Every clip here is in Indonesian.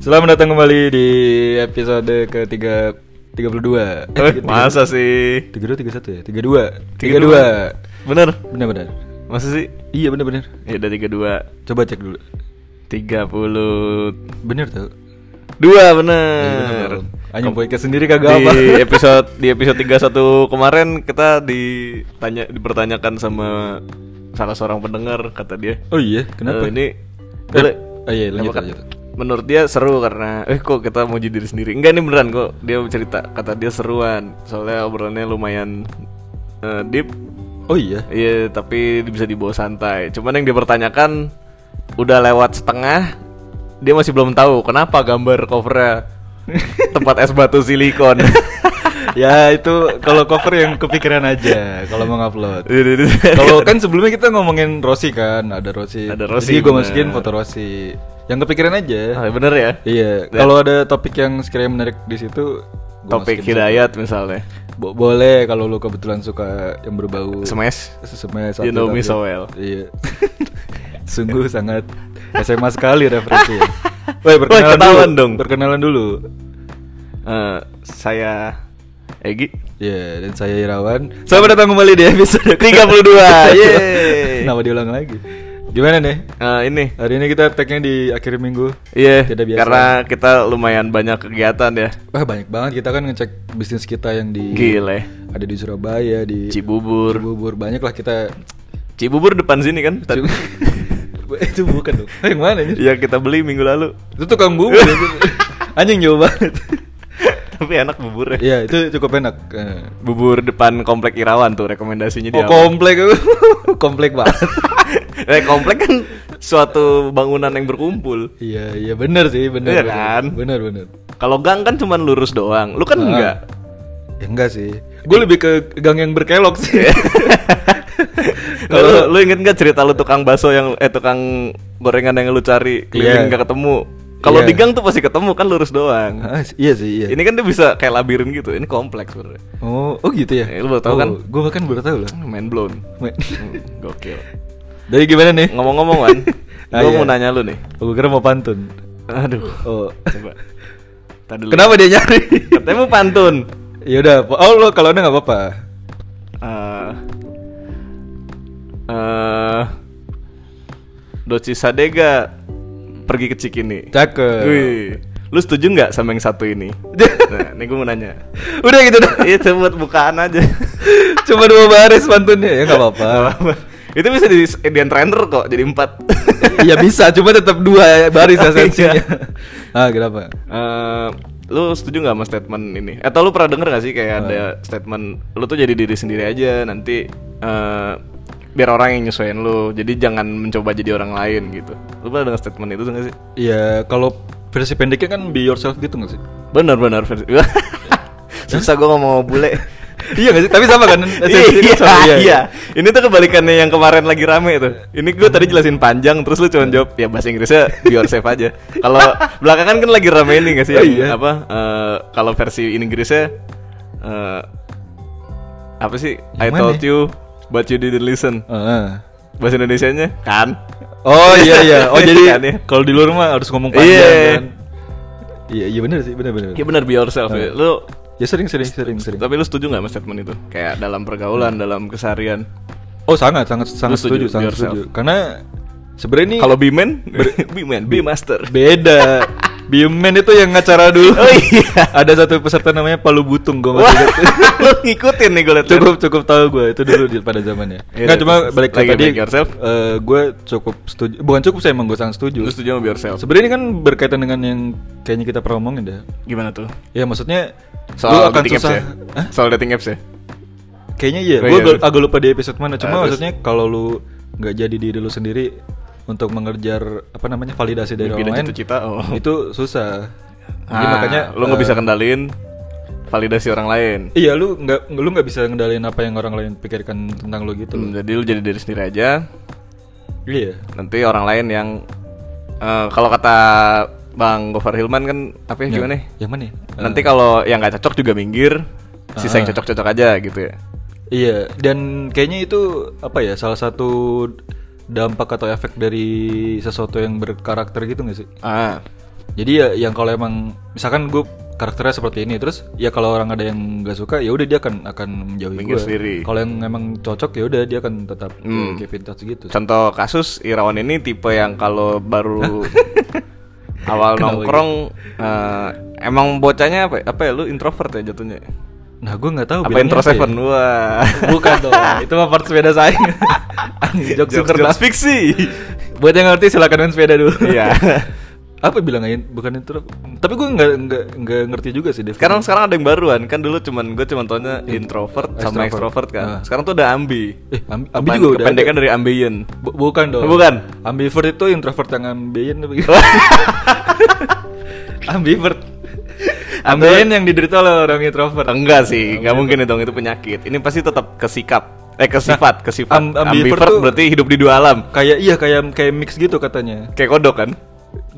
Selamat datang kembali di episode ke 3 32. Eh, Masa sih? 32 31 ya? 32. 32. 32. Bener? Benar benar. Masa sih? Iya benar benar. Ya udah 32. Coba cek dulu. 32 Bener tuh. Iya, bener. Iya, Anjing podcast sendiri kagak Eh, di apa. episode di episode 31 kemarin kita ditanya dipertanyakan sama salah seorang pendengar kata dia. Oh iya, kenapa? "Eh, ini Eh, boleh oh iya, lanjut Apa, Kak? lanjut. Menurut dia seru karena eh kok kita mau jadi diri sendiri. Enggak nih beneran kok. Dia cerita kata dia seruan. Soalnya obrolannya lumayan eh, deep Oh iya. Iya, tapi bisa dibawa santai. Cuman yang dipertanyakan udah lewat setengah, dia masih belum tahu kenapa gambar covernya tempat es batu silikon. ya itu kalau cover yang kepikiran aja kalau mau ngupload. Iya. Kalau Kalau kan sebelumnya kita ngomongin Rossi kan, ada Rossi. Ada Rossi, Jadi gue bener. masukin foto Rossi. Yang kepikiran aja. Ah, bener ya, Iya, kalau ada topik yang sekiranya menarik di situ gua topik masukin. hidayat misalnya, Bo- boleh kalau lu kebetulan suka yang berbau smash. SMA You know me so well. Iya. Sungguh sangat SMA sekali referensi. ya. Woi, Woi, perkenalan ketahuan dulu. dong. Perkenalan dulu. Eh, saya Egi. Iya, dan saya Irawan. Selamat datang kembali di episode 32, yeay. Kenapa diulang lagi? Gimana nih? Eh, ini, Hari ini kita tag-nya di akhir minggu. iya, Tidak biasa. karena kita lumayan banyak kegiatan ya, Wah, banyak banget kita kan ngecek bisnis kita yang di gile. ada di Surabaya di Cibubur, Cibubur banyak lah kita Cibubur depan sini kan? tadi. itu bukan dong Eh, yang mana ini Yang kita beli minggu lalu, itu tukang bubur ya. anjing jauh banget tapi enak buburnya. Iya itu cukup enak Eh. bubur depan komplek Irawan tuh rekomendasinya oh dia. komplek komplek banget eh komplek kan suatu bangunan yang berkumpul. iya iya bener sih bener Iya bener. kan? bener bener Kalau gang kan cuman lurus doang. Lu kan Ah. enggak. ya, enggak sih gue lebih ke gang yang berkelok sih Kalau Iya. lu, lu inget nggak cerita lu tukang bakso yang eh tukang gorengan yang lu Iya. cari keliling nggak ketemu. Kalau Iya. di gang tuh pasti ketemu kan lurus doang. Ah, iya sih iya Ini kan dia bisa kayak labirin gitu. Ini kompleks sebenarnya. oh oh gitu ya Eh, lu baru tahu kan? gue bahkan baru tahu loh Main blown. Men. Hmm, Gokil. jadi gimana nih Ngomong-ngomong Wan, Eh. Ah, gua iya. mau nanya lu nih. gue kira mau pantun Aduh. oh Coba. Tar dulu. Kenapa dia nyari? Katanya mau pantun. ya udah, oh lo kalau ada nggak apa-apa. eh eh Doci Sadega pergi ke Cikini. Cakep. Wih, lu setuju nggak sama yang satu ini? Nah, ini gue mau nanya. udah gitu dah. Itu buat bukaan aja. Cuma dua baris pantunnya ya nggak apa-apa. Itu bisa di, di enter kok jadi empat. Iya bisa, cuma tetap dua baris Oh, esensinya. iya. ah kenapa? Eh, lu setuju nggak sama statement ini? Atau lu pernah denger nggak sih kayak ada statement lu tuh jadi diri sendiri aja nanti eh, biar orang yang nyesuaiin lu. Jadi jangan mencoba jadi orang lain gitu. Lu pernah denger statement itu nggak sih? Iya kalau versi pendeknya kan be yourself gitu nggak sih? Bener bener versi. Susah gue ngomong bule. iya nggak sih? Tapi sama kan? Esensinya iya, sama, iya, Ini tuh kebalikannya yang kemarin lagi rame tuh. Ini gue tadi jelasin panjang, terus lu cuma jawab ya bahasa Inggrisnya be yourself aja. Kalau belakangan kan lagi rame ini gak sih? Oh, yang iya. Apa? eh, Kalau versi Inggrisnya eh, apa sih? I Yang mana told ya? you, but you didn't listen. Heeh. Bahasa Indonesianya kan? Oh iya iya. Oh Kan, ya. jadi kalau di luar mah harus ngomong panjang Iya. kan? Iya iya benar sih benar benar. Ya benar be yourself. Ya. Lu Ya sering sering sering sering. tapi lu setuju nggak sama statement itu? Kayak dalam pergaulan, dalam keseharian. Oh sangat sangat sangat setuju, setuju, be sangat yourself. setuju. Karena sebenarnya ini Kalau be man, be man, be master. Beda. Bioman itu yang ngacara dulu. Oh, iya. Ada satu peserta namanya Palu Butung gue Wah, lu ngikutin nih gue liat cukup cukup tahu gue itu dulu di, pada zamannya. Iya, Enggak cuma terus balik ke lagi tadi. back yourself. eh, gue cukup setuju. Bukan cukup saya emang gue sangat setuju. Lu setuju sama be yourself? Sebenarnya ini kan berkaitan dengan yang kayaknya kita pernah omongin deh. Gimana tuh? Ya maksudnya lu Soal akan dating apps susah. ya? Hah? Soal dating apps ya? Kayaknya iya. Oh, gue iya, terus. agak lupa di episode mana. Ah, Cuma terus. maksudnya kalau lu nggak jadi diri lu sendiri untuk mengejar apa namanya validasi dari Mimpi dan orang lain cita-cita, oh. itu susah. Jadi Ah, makanya lu nggak eh, bisa kendalin validasi orang lain. Iya lu nggak lu nggak bisa ngendalin apa yang orang lain pikirkan tentang lu gitu. loh. Hmm, jadi lu jadi diri sendiri aja. Iya. Nanti orang lain yang eh, kalau kata Bang Gofar Hilman kan apa ya gimana? nih? Yang mana? ya? Nanti kalau yang nggak cocok juga minggir, Ah. sisa yang cocok-cocok aja gitu ya. Iya. Dan kayaknya itu apa ya salah satu dampak atau efek dari sesuatu yang berkarakter gitu nggak sih? Ah, Jadi ya yang kalau emang misalkan gue karakternya seperti ini terus ya kalau orang ada yang nggak suka ya udah dia akan akan menjauhi Minggir gue. sendiri. Kalau yang emang cocok ya udah dia akan tetap Hmm. keep in touch gitu. Contoh kasus Irawan ini tipe yang kalau baru Kenapa awal gitu? nongkrong eh, emang bocahnya apa? Apa ya lu introvert ya jatuhnya? ya? Nah gue nggak tahu. apa bilangnya intro ya? seven? Wah. Bukan dong. itu mah part sepeda saya. Anjing jokes Jokes- kertas. jokes fiksi. Buat yang ngerti silakan main sepeda dulu. Iya. Apa bilangnya bukan intro? Tapi gue nggak nggak nggak ngerti juga sih. Dev. Sekarang sekarang ada yang baruan kan dulu cuman gue cuman taunya introvert Hmm. sama Extrovert. extrovert kan. Ah. Sekarang tuh ada ambi. eh Ambi, Ambi Ambi juga udah. kependekan dari ambien. Bu- bukan dong. Bukan. Ambivert itu introvert yang ambien apa gitu. ambivert. Ambien yang diderita oleh orang introvert. Enggak sih, nggak mungkin dong itu penyakit. Ini pasti tetap ke sikap. Eh ke sifat, ke sifat. Nah, am- ambivert ambivert tuh- berarti hidup di dua alam. Kayak iya kayak kayak mix gitu katanya. Kayak kodok kan?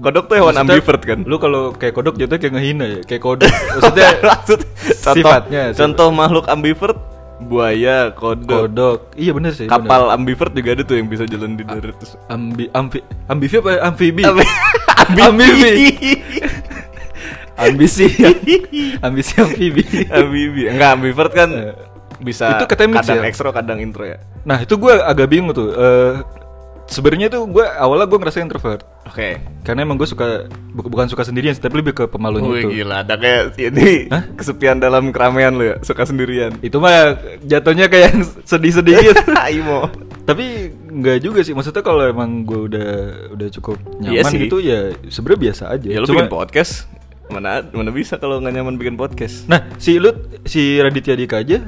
Kodok tuh hewan Maksudnya, ambivert kan? Lu kalau kayak kodok jatuh kayak ngehina ya, kayak kodok. Maksudnya Maksud, contoh, sifatnya, sifat. contoh makhluk ambivert buaya, kodok, kodok. Iya bener sih. bener. kapal ambivert juga ada tuh yang bisa jalan di darat. terus- Ambi amfi ambivi apa ya? amfibi? Ambi- Ambivi. ambisi. ambisi amfibi. Ambibi. Enggak ambivert kan Eh. bisa Itu katanya mix kadang ya? ekstro kadang intro ya. Nah, itu gue agak bingung tuh. Eh sebenarnya tuh gue awalnya gue ngerasa introvert. Oke. Karena emang gue suka bu- bukan suka sendirian, sih, tapi lebih ke pemalunya Wih itu. gila, ada kayak ini Hah? kesepian dalam keramaian lu ya, suka sendirian. Itu mah jatuhnya kayak yang sedih-sedih gitu. Imo. tapi nggak juga sih maksudnya kalau emang gue udah udah cukup Iya nyaman sih. gitu ya sebenarnya biasa aja. Ya lu Cuma- bikin podcast mana mana bisa kalau nggak nyaman bikin podcast. Nah, si Lut, si Raditya Dika aja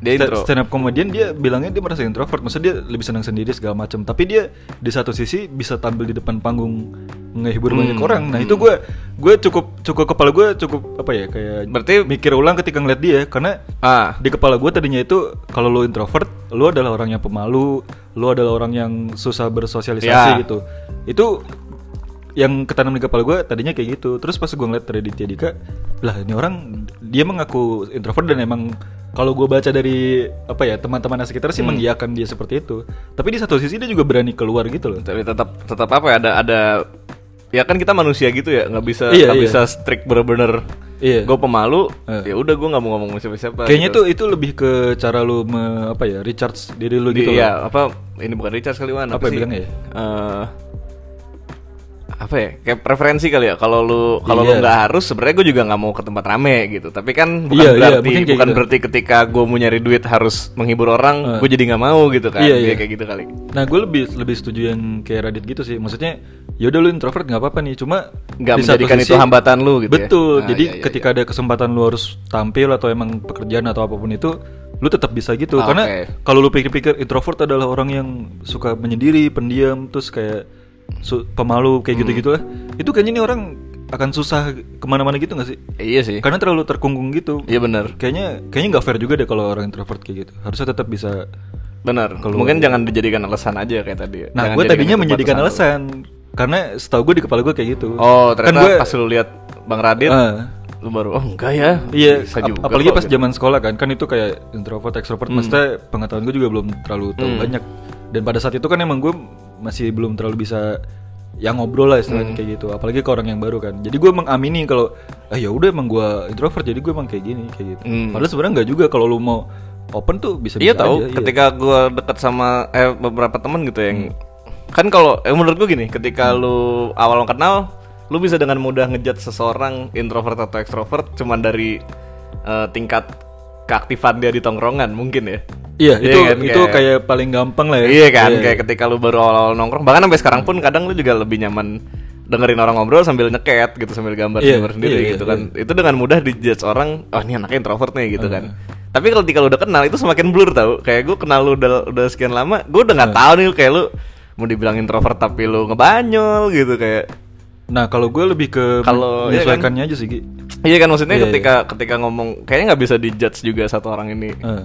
Dia sta- intro. stand up comedian dia bilangnya dia merasa introvert, maksudnya dia lebih senang sendiri segala macam. Tapi dia di satu sisi bisa tampil di depan panggung ngehibur banyak Hmm. orang. Nah, itu gue gue cukup cukup kepala gue cukup apa ya kayak Berarti- mikir ulang ketika ngeliat dia karena Ah, di kepala gue tadinya itu kalau lu introvert, lu adalah orang yang pemalu, lu adalah orang yang susah bersosialisasi Ya. gitu. Itu yang ketanam di kepala gue tadinya kayak gitu. Terus pas gue ngeliat Raditya Dika, lah ini orang dia mengaku introvert dan emang kalau gue baca dari apa ya teman-teman sekitar sih mengiyakan dia seperti itu. Tapi di satu sisi dia juga berani keluar gitu loh. tapi tetap tetap apa ya ada ada ya kan kita manusia gitu ya nggak bisa Iya, nggak iya. bisa strict bener-bener Iya. gue pemalu Eh. ya udah gue nggak mau ngomong sama siapa Kayaknya tuh itu lebih ke cara lu me- apa ya recharge diri lu gitu loh. ya apa ini bukan Richard kali mana Apa yang bilangnya ya? Eh, apa ya kayak preferensi kali ya kalau lu kalau lu Iya. nggak harus sebenarnya gue juga nggak mau ke tempat rame gitu tapi kan bukan Iya, iya, berarti mungkin kayak bukan gitu. berarti ketika gue mau nyari duit harus menghibur orang gue jadi nggak mau gitu kan Iya, Dia iya. kayak gitu kali Nah, gue lebih lebih setuju yang kayak Radit gitu sih. Maksudnya, yaudah lu introvert nggak apa-apa nih. Cuma di Nggak satu menjadikan itu hambatan lu gitu ya? Betul. Ah, Jadi iya, iya, ketika ada kesempatan lu harus tampil atau emang pekerjaan atau apapun itu, lu tetap bisa gitu. Ah, Karena oke. kalau lu pikir-pikir introvert adalah orang yang suka menyendiri, pendiam, terus kayak su- pemalu Hmm. kayak gitu-gitu lah. Itu kayaknya nih orang akan susah kemana-mana gitu nggak sih? Eh, iya sih Karena terlalu terkungkung gitu. iya benar Kayaknya kayaknya nggak fair juga deh kalau orang introvert kayak gitu. Harusnya tetap bisa Benar. Mungkin jangan dijadikan alasan aja kayak tadi. ya. Nah, Jangan gue jadikan tadinya itu menjadikan batasan lu. alasan karena setahu gue di kepala gue kayak gitu. Oh, ternyata kan gue, pas lu lihat Bang Radit, Eh, lu baru oh enggak ya. iya, Bisa ap- juga apalagi kok, pas gitu. Hmm. zaman sekolah kan, kan itu kayak introvert, extrovert. Maksudnya pengetahuan gue juga belum terlalu tahu banyak. Dan pada saat itu kan emang gue masih belum terlalu bisa yang ngobrol lah Hmm. istilahnya kayak gitu. Apalagi ke orang yang baru kan. Jadi gue mengamini kalau ah ya udah emang gue introvert, jadi gue emang kayak gini kayak gitu. Hmm. Padahal sebenarnya nggak juga kalau lu mau open tuh bisa Iya tahu. Ketika gue deket sama eh, beberapa teman gitu yang kan kalau eh, menurut gue gini, ketika lu awal kenal, lu bisa dengan mudah ngejat seseorang introvert atau ekstrovert cuman dari eh, tingkat keaktifan dia di tongkrongan mungkin ya. Iya, Iya itu kan, itu kayak- kayak paling gampang lah ya. Iya kan, kayak ketika lu baru awal-awal nongkrong, bahkan sampai sekarang pun kadang lu juga lebih nyaman dengerin orang ngobrol sambil nyeket gitu sambil gambar Iya, gambar sendiri iya, gitu iya, kan. Itu dengan mudah dijudge orang, oh ini anaknya introvert nih gitu kan. Tapi kalau ketika lu udah kenal itu semakin blur tau Kayak gue kenal lu udah, udah sekian lama, gue udah nggak tahu nih kayak lu mau dibilang introvert tapi lu ngebanyol gitu kayak. Nah kalau gue lebih ke Kalau- iya kan? menyesuaikannya aja sih. Gi. Iya kan maksudnya Iya, ketika ketika ngomong kayaknya nggak bisa dijudge juga satu orang ini Eh.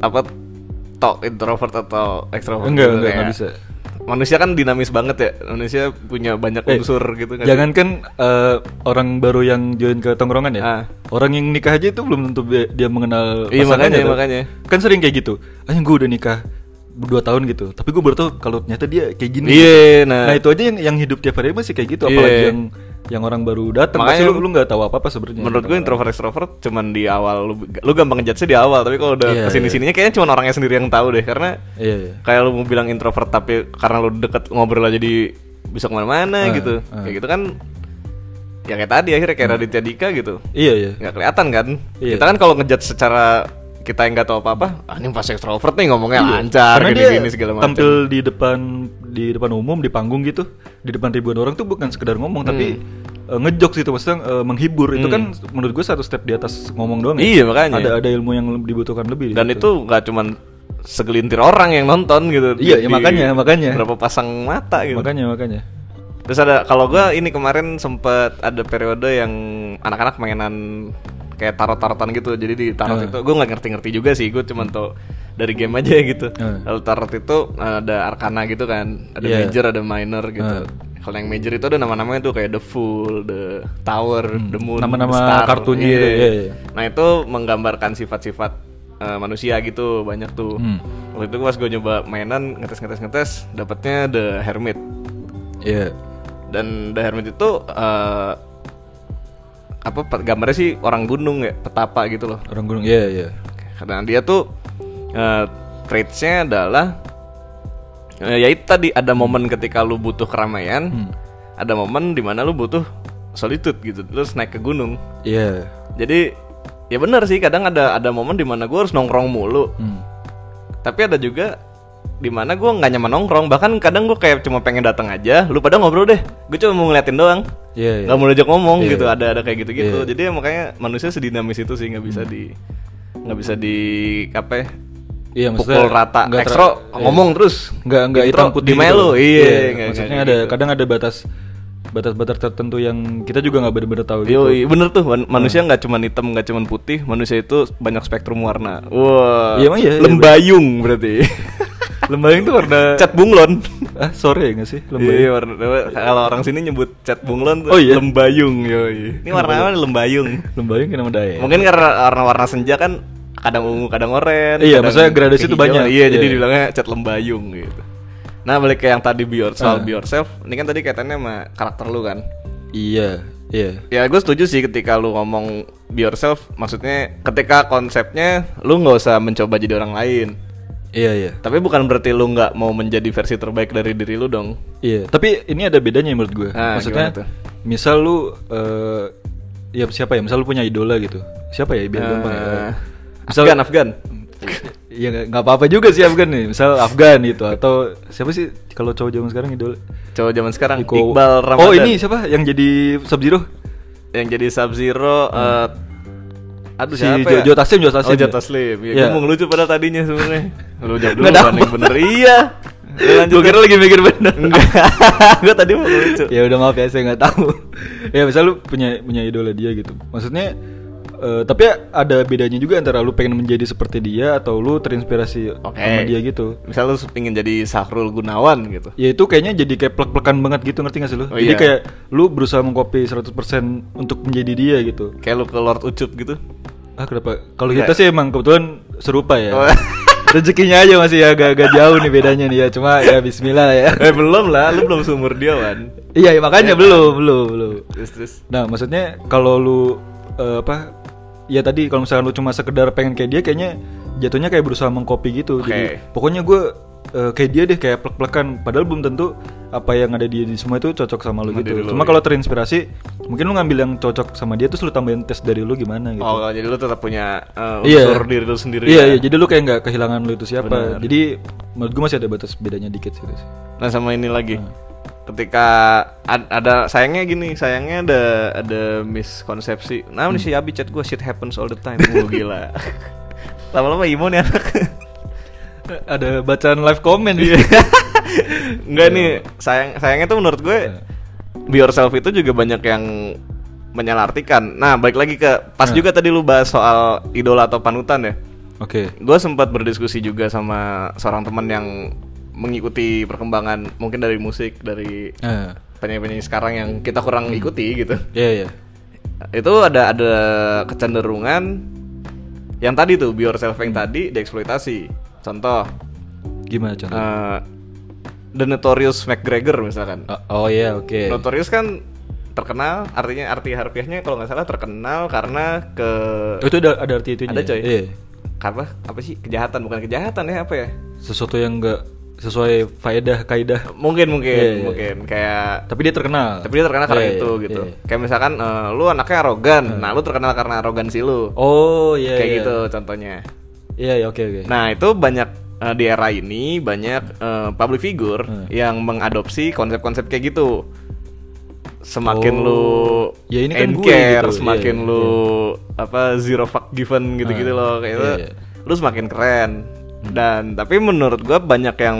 apa tok introvert atau ekstrovert Enggak, gitu, enggak, kayak- enggak bisa. manusia kan dinamis banget ya manusia punya banyak Eh, unsur gitu kan Jangankan eh, orang baru yang join ke tongkrongan ya. Ah. Orang yang nikah aja itu belum tentu be- dia mengenal Iya, pasangannya, makanya, tau. makanya. Kan sering kayak gitu. Anjing gue udah nikah 2 tahun gitu. Tapi gue baru tau kalau ternyata dia kayak gini. iya nah, Nah itu aja yang yang hidup tiap hari masih kayak gitu. Iya. Apalagi yang yang orang baru datang Makanya pasti lu lu nggak tahu apa apa sebenarnya gitu. Menurut gue introvert extrovert cuman di awal lu, lu gampang ngejudge di awal, tapi kalau udah Iya, kesini sininya kayaknya cuma orangnya sendiri yang tahu deh karena iya, iya. kayak lu mau bilang introvert tapi karena lu deket ngobrol aja di bisa Ah, kemana-mana ah. gitu Hmm. kayak gitu kan ya kayak tadi akhirnya kayak Raditya Dika gitu iya iya nggak kelihatan kan Iya. kita kan kalau ngejat secara kita yang nggak tahu apa-apa ah ini pas extrovert nih ngomongnya Iya. lancar Karena dia gini-gini segala macam tampil di depan di depan umum di panggung gitu di depan ribuan orang tuh bukan sekedar ngomong tapi eh, ngejokes gitu maksudnya eh, menghibur itu kan menurut gue satu step di atas ngomong doang ya. Iya, makanya. ada gitu. ada ilmu yang dibutuhkan lebih di dan situ. itu nggak cuman segelintir orang yang nonton gitu Iya, ya makanya, makanya. berapa pasang mata gitu makanya makanya terus ada kalau gua ini kemarin sempet ada periode yang anak-anak mainan kayak tarot-tarotan gitu jadi di tarot Eh. itu gue nggak ngerti-ngerti juga sih gue cuman tau dari game aja gitu Eh. kalau tarot itu ada arkana gitu kan ada Iya. major ada minor Eh. gitu kalau yang major itu ada nama-namanya tuh kayak the fool the tower the Hmm. moon Nama-nama the star. kartunya Iya. gitu, iya, iya. nah itu menggambarkan sifat-sifat eh, manusia gitu banyak tuh Hmm. waktu itu pas gue nyoba mainan ngetes-ngetes-ngetes dapatnya the hermit iya dan The Hermit itu eh, apa pe- gambarnya sih orang gunung ya petapa gitu loh orang gunung iya iya karena dia tuh eh, traitsnya adalah eh, ya itu tadi ada momen ketika lu butuh keramaian ada momen dimana lu butuh solitude gitu terus naik ke gunung iya jadi ya benar sih kadang ada ada momen dimana gue harus nongkrong mulu Hmm. tapi ada juga dimana gue nggak nyaman nongkrong bahkan kadang gue kayak cuma pengen datang aja lu pada ngobrol deh gue cuma mau ngeliatin doang iya iya. nggak mau diajak ngomong Iya. gitu ada ada kayak gitu gitu Iya. jadi ya makanya manusia sedinamis itu sih nggak bisa di nggak bisa di apa ya, Iya, maksudnya pukul rata nggak ter- ekstro iya. ngomong terus nggak nggak Intro, hitam putih di melo gitu. iya Iya, nggak- maksudnya nggak ada gitu. kadang ada batas batas-batas tertentu yang kita juga nggak benar-benar tahu gitu Yoi, bener tuh man- manusia nggak cuman hitam nggak cuman putih manusia itu banyak spektrum warna wah Iya, emang iya, iya. lembayung berarti lembayang tuh warna cat bunglon ah sore nggak sih lembayang Iya, warna, kalau orang sini nyebut cat bunglon tuh Oh, iya? lembayung yoi. ini warna apa lembayung lembayang kenapa daerah Mungkin karena warna-warna senja kan kadang ungu, kadang oranye. Iya, kadang maksudnya gradasi tuh kehijauan. banyak. Iya, jadi Iya. dibilangnya cat lembayung gitu. Nah, balik ke yang tadi be your- soal Ah. be yourself, ini kan tadi kaitannya sama karakter lu kan. Iya, iya. Ya, gue setuju sih ketika lu ngomong be yourself, maksudnya ketika konsepnya lu nggak usah mencoba jadi orang lain. Iya, iya. Tapi bukan berarti lu nggak mau menjadi versi terbaik dari diri lu dong. Iya, tapi ini ada bedanya menurut gue. Ah, Maksudnya gimana tuh? misal lu eh ya siapa ya? Misal lu punya idola gitu. Siapa ya biar gampang ya. Eh, Misal Afgan, Afgan. Iya nggak- nggak apa-apa juga sih Afgan nih. Misal Afgan gitu atau siapa sih kalau cowok zaman sekarang idola? Cowok zaman sekarang Iko- Iqbal Ramadan. Oh, ini siapa yang jadi Sub Zero? yang jadi Sub Zero aduh Hmm. Si siapa Jojo ya? Taslim, Jojo Taslim oh Jojo ya? Taslim ya, Iya. gue mau ngelucu padahal tadinya sebenarnya lu jawab dulu Nggak kan dapet. yang bener iya Lu lanjut Gue kira lagi mikir bener. gue tadi mau ngelucu ya udah maaf ya saya nggak tahu ya misal lu punya punya idola dia gitu maksudnya eh, tapi ada bedanya juga antara lu pengen menjadi seperti dia atau lu terinspirasi Oke. sama dia gitu misal lu pengen jadi Sahrul Gunawan gitu ya itu kayaknya jadi kayak plek-plekan banget gitu ngerti gak sih lu Oh, jadi iya. kayak lu berusaha mengcopy 100% untuk menjadi dia gitu kayak lu ke Lord Ucup gitu ah kenapa kalau kita Nggak. sih emang kebetulan serupa ya Oh. rezekinya aja masih agak-agak jauh nih bedanya nih ya cuma ya Bismillah lah ya eh belum lah lu belum seumur dia kan iya ya, makanya belum belum belum terus terus Nah, maksudnya kalau lu eh, apa ya tadi kalau misalkan lu cuma sekedar pengen kayak dia kayaknya jatuhnya kayak berusaha mengcopy gitu. Oke. Jadi pokoknya gue eh, kayak dia deh kayak plek-plekan padahal belum tentu apa yang ada di, di semua itu cocok sama lu Sama gitu. diri lu, Cuma iya. kalau terinspirasi mungkin lu ngambil yang cocok sama dia terus lu tambahin tes dari lu gimana gitu. oh jadi lu tetap punya eh, unsur diri lu sendiri Iya, ya. iya, jadi lu kayak nggak kehilangan lu itu siapa. Benar. Jadi menurut gue masih ada batas bedanya dikit sih. Riz. Nah sama ini lagi. Ketika ad- ada sayangnya gini, sayangnya ada ada miskonsepsi. Nah, ini si Abi chat gue shit happens all the time. Wah, gila. Lama-lama ya. emo nih anak. Eh, Ada bacaan live comment Iya. Enggak nih, sayang sayangnya tuh menurut gue be yourself itu juga banyak yang menyalartikan. Nah, balik lagi ke pas juga tadi lu bahas soal idola atau panutan ya. Oke. Gue sempat berdiskusi juga sama seorang teman yang mengikuti perkembangan mungkin dari musik, dari Eh, penyanyi-penyanyi sekarang yang kita kurang ikuti gitu Iya, iya. itu ada ada kecenderungan yang tadi tuh be yourself yang tadi dieksploitasi contoh Gimana contohnya? eh, the notorious McGregor misalkan Oh, oh iya, oke. notorious kan terkenal artinya arti harfiahnya kalau nggak salah terkenal karena ke Oh, itu ada, ada arti itunya. Ada, ya? coy. Iya. karena apa sih kejahatan bukan kejahatan ya apa ya Sesuatu yang enggak sesuai faedah kaidah. mungkin mungkin Iya, iya, mungkin kayak Tapi dia terkenal. tapi dia terkenal karena Iya, iya, itu gitu iya. kayak misalkan eh, lu anaknya arogan nah lu terkenal karena arogansi lu Oh, iya. kayak iya. gitu contohnya Iya, iya, oke, oke. Nah itu banyak eh, di era ini banyak eh, public figure Hmm. yang mengadopsi konsep-konsep kayak gitu. Semakin Oh. lu Ya, ini kan end gue care, gitu. Iya, semakin iya, lu apa zero fuck given gitu-gitu Ah, loh iya, kayak itu, iya. Hmm. lu semakin keren. Dan tapi menurut gua banyak yang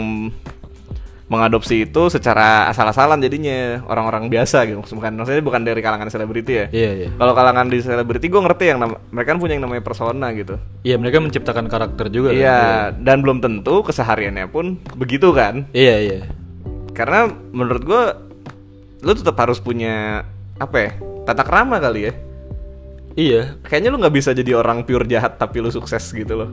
mengadopsi itu secara asal-asalan jadinya orang-orang biasa gitu. Bukan maksudnya bukan dari kalangan selebriti ya. Iya, iya. Kalau kalangan di selebriti gue ngerti yang nam- mereka kan punya yang namanya persona gitu. Iya, mereka menciptakan karakter juga. kan? Iya, dan belum tentu kesehariannya pun begitu kan. Iya, iya. Karena menurut gua lu tetap harus punya apa ya? Tata krama kali ya. Iya. Kayaknya lu nggak bisa jadi orang pure jahat tapi lu sukses gitu loh.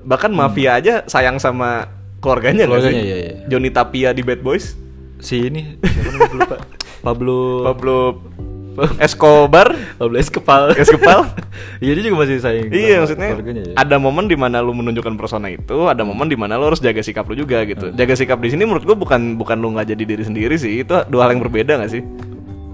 Bahkan mafia aja sayang sama keluarganya, nggak Hmm. Keluarganya, sih? iya, iya. Johnny Tapia di Bad Boys, Si ini siapa namanya? Lupa. Pablo Pablo Escobar, Pablo Escopal. Escobar. Iya, dia juga masih sayang. sama Iya maksudnya keluarganya ya. ada momen dimana lu menunjukkan persona itu, ada momen dimana lu harus jaga sikap lu juga Hmm. gitu. Jaga sikap di sini menurut gua bukan bukan lu nggak jadi diri sendiri sih, itu dua hal yang berbeda nggak sih?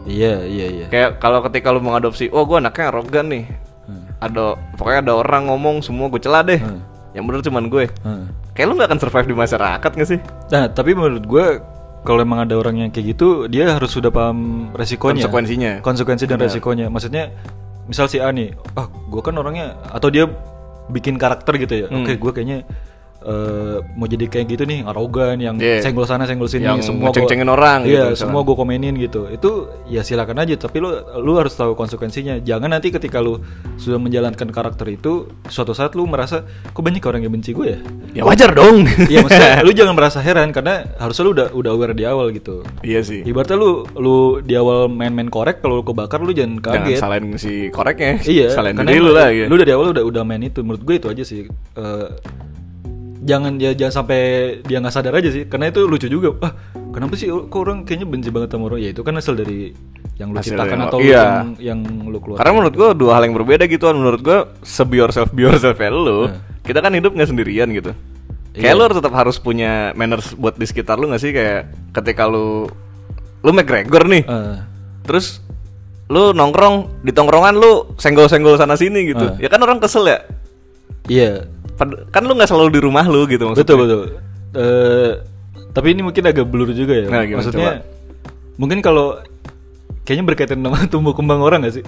Iya, iya, iya. Kayak kalau ketika lu mengadopsi, oh gua anaknya arogan nih, Hmm. ada pokoknya ada orang ngomong semua gue celah deh, Hmm. yang bener cuman gue. Heeh. Kayak lu nggak akan survive di masyarakat nggak sih? Nah, tapi menurut gue kalau emang ada orang yang kayak gitu, dia harus sudah paham resikonya. Konsekuensinya. Konsekuensi dan resikonya. Maksudnya, misal si A nih, ah gue kan orangnya, atau dia bikin karakter gitu ya. Hmm. Oke, gue kayaknya eh, mau jadi kayak gitu nih, arogan, yang Iya. senggol sana, senggol sini, Yang semua gua- ceng-cengin orang gitu Iya, misalnya. semua gue komenin gitu. Itu ya silakan aja, tapi lu lu harus tahu konsekuensinya. Jangan nanti ketika lu sudah menjalankan karakter itu, suatu saat lu merasa kok banyak orang yang benci gue ya. Ya wajar dong. Iya maksudnya lu jangan merasa heran karena harusnya lu udah udah aware di awal gitu. iya sih. Ibaratnya lu lu di awal main-main korek kalau lu kebakar lu jangan Jangan kaget. salahin si koreknya. iya, Salahin karena diri lu emang lah gitu. Lu dari awal udah udah main itu menurut gue itu aja sih. Eh, jangan ya jangan sampai dia nggak sadar aja sih karena itu lucu juga. Ah, kenapa sih kok orang kayaknya benci banget sama orang? Ya itu kan hasil dari yang lu Hasil ciptakan dari- atau lu iya. yang, yang lu keluar. Karena menurut gua dua hal yang berbeda gitu kan. Menurut gua se be yourself be yourself ya lu. Nah. Kita kan hidup nggak sendirian gitu. Iya. Kayak lu tetap harus punya manners buat di sekitar lu nggak sih kayak ketika lu lu McGregor nih. Eh, Terus lu nongkrong di tongkrongan lu senggol-senggol sana sini Ah. gitu. Ya kan orang kesel ya. iya. Pad- Kan lu nggak selalu di rumah lu gitu maksudnya. Betul betul. Eh, tapi ini mungkin agak blur juga ya. Nah, gimana, Maksudnya mungkin kalau kayaknya berkaitan sama tumbuh kembang orang gak sih?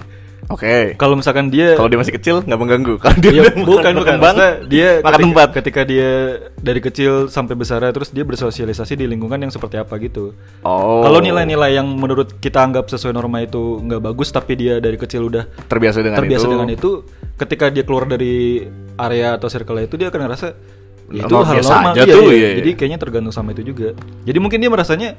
Oke. Kalau misalkan dia Kalau dia masih kecil nggak mengganggu. Kalau dia Iya, udah bukan bukan berkembang, Maksudnya dia makan ketika, tempat. ketika dia dari kecil sampai besar terus dia bersosialisasi di lingkungan yang seperti apa gitu. Oh. Kalau nilai-nilai yang menurut kita anggap sesuai norma itu nggak bagus tapi dia dari kecil udah Oh, terbiasa dengan terbiasa itu. dengan itu ketika dia keluar dari area atau circle itu dia akan ngerasa ya itu Normal hal biasa normal aja Iya, tuh, iya. iya, iya. jadi kayaknya tergantung sama itu juga jadi mungkin dia merasanya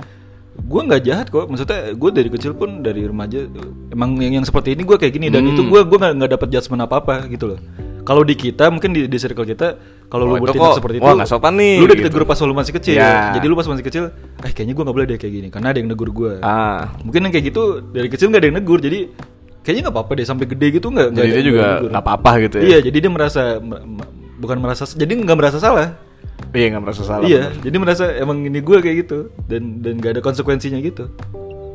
gue nggak jahat kok maksudnya gue dari kecil pun dari remaja emang yang, yang seperti ini gue kayak gini Hmm. dan itu gue gue nggak nggak dapat judgement apa apa gitu loh kalau di kita mungkin di, di circle kita kalau Oh, lu itu bertindak kok- seperti itu wah, nggak sopan nih, lu udah gitu. ditegur pas lu masih kecil Ya. jadi lu pas masih kecil eh kayaknya gue nggak boleh deh kayak gini karena ada yang negur gue Ah. mungkin yang kayak gitu dari kecil nggak ada yang negur jadi kayaknya nggak apa-apa deh sampai gede gitu nggak nggak Jadi ada dia yang juga negur. nggak apa-apa gitu ya. iya jadi dia merasa mer- mer- bukan merasa jadi nggak merasa salah Iya nggak merasa salah. iya jadi merasa emang ini gue kayak gitu dan dan nggak ada konsekuensinya gitu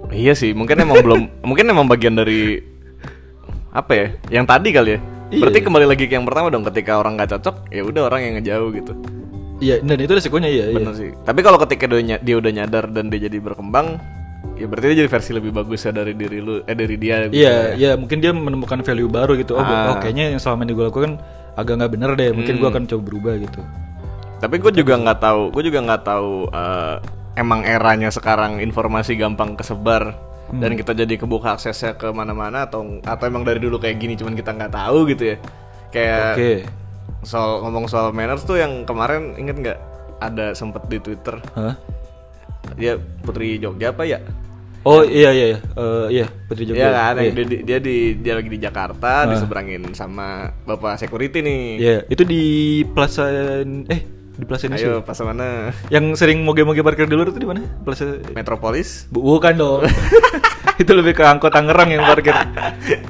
Iya sih, mungkin emang belum, mungkin emang bagian dari apa ya? Yang tadi kali ya. Iya. Berarti kembali lagi ke yang pertama dong, ketika orang nggak cocok, ya udah orang yang ngejauh gitu. iya dan itu resikonya iya iya Bener sih. Tapi kalau ketika dia, ny- dia udah nyadar dan dia jadi berkembang, ya berarti dia jadi versi lebih bagus ya dari diri lu, eh dari dia. gitu. Iya, iya mungkin dia menemukan value baru gitu. Oh, Ah. gua- oh, kayaknya yang selama ini gue lakukan agak nggak bener deh. Mungkin Hmm. gue akan coba berubah gitu. Tapi gue juga nggak tahu, gue juga nggak tahu eh, emang eranya sekarang informasi gampang kesebar Hmm. dan kita jadi kebuka aksesnya ke mana-mana atau atau emang dari dulu kayak gini cuman kita nggak tahu gitu ya. Kayak Oke. soal ngomong soal manners tuh yang kemarin inget nggak ada sempet di Twitter Hah? dia Putri Jogja apa ya? Oh iya iya iya. Eh, iya Putri Jogja. Iya kan, yang dia, di- dia di dia lagi di Jakarta, diseberangin sama bapak security nih. Iya, itu di Plaza eh di Plaza Indonesia. Ayo pas mana? Iya. Yang sering moge-moge parkir di luar itu di mana? Plaza Metropolis? Bu- bukan dong. itu lebih ke angkot Tangerang yang parkir.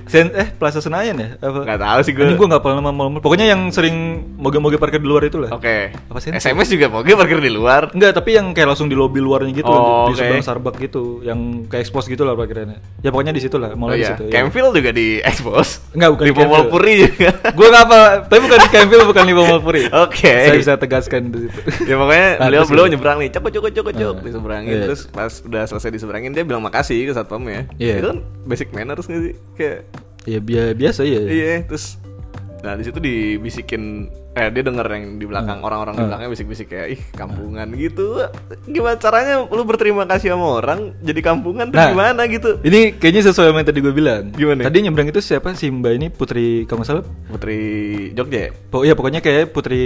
Sen eh Plaza Senayan ya? Apa? Nggak tahu sih gue. Ini gue nggak pernah nama mall-mall. Pokoknya yang sering moge-moge parkir di luar itu lah. Oke. Apa sih? SMS juga mau gue parkir di luar. Enggak, tapi yang kayak langsung di lobi luarnya gitu, di Oh, oke. seberang Starbucks gitu, yang kayak expose gitu lah parkirannya. Ya pokoknya di situ lah, Oh mallnya di iya. situ. ya. Campfield juga di expose. Enggak, bukan di Campfield. Pomol Puri juga. Gue nggak apa, tapi bukan di Campbell, bukan di Malpuri. Oke. Saya bisa tegaskan di situ. ya pokoknya Ah, beliau terus beliau gimana? nyebrang nih cok cok cok cok Ah, diseberangin iya. terus pas udah selesai diseberangin dia bilang makasih ke satpam ya Iya. itu kan basic manners nggak sih kayak Ya bi- biasa ya. iya terus nah di situ dibisikin eh dia denger yang di belakang Ah. orang-orang di Ah. belakangnya bisik-bisik kayak ih kampungan Hmm. gitu gimana caranya lu berterima kasih sama orang jadi kampungan tuh Nah. gimana gitu Ini kayaknya sesuai sama yang tadi gue bilang. Gimana? Tadi nyebrang itu siapa sih Mbak ini Putri kalau nggak salah? Putri Jogja ya? Po ya pokoknya kayak Putri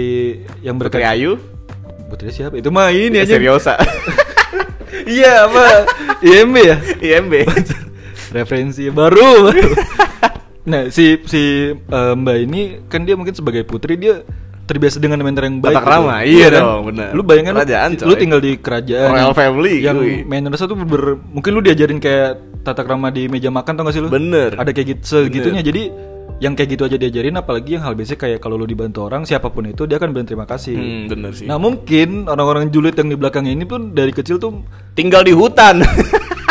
yang Putri berkat. Ayu Putri siapa? Itu mah ini Ya, aja. Seriosa Iya apa? IMB ya. IMB Referensi baru. nah si si eh, Mbak ini kan dia mungkin sebagai putri dia terbiasa dengan manner yang baik. Tata krama, gitu. iya kan? dong, benar. Lu bayangkan lu- Kerajaan, lu, coy. tinggal di kerajaan. Royal family, Yang cuy. manners tuh ber, mungkin lu diajarin kayak tata krama di meja makan tau gak sih lu? Bener. Ada kayak gitu segitunya. Jadi yang kayak gitu aja diajarin apalagi yang hal basic kayak kalau lu dibantu orang siapapun itu dia akan bilang terima kasih. hmm, bener sih Nah mungkin orang-orang julid yang di belakang ini pun dari kecil tuh tinggal di hutan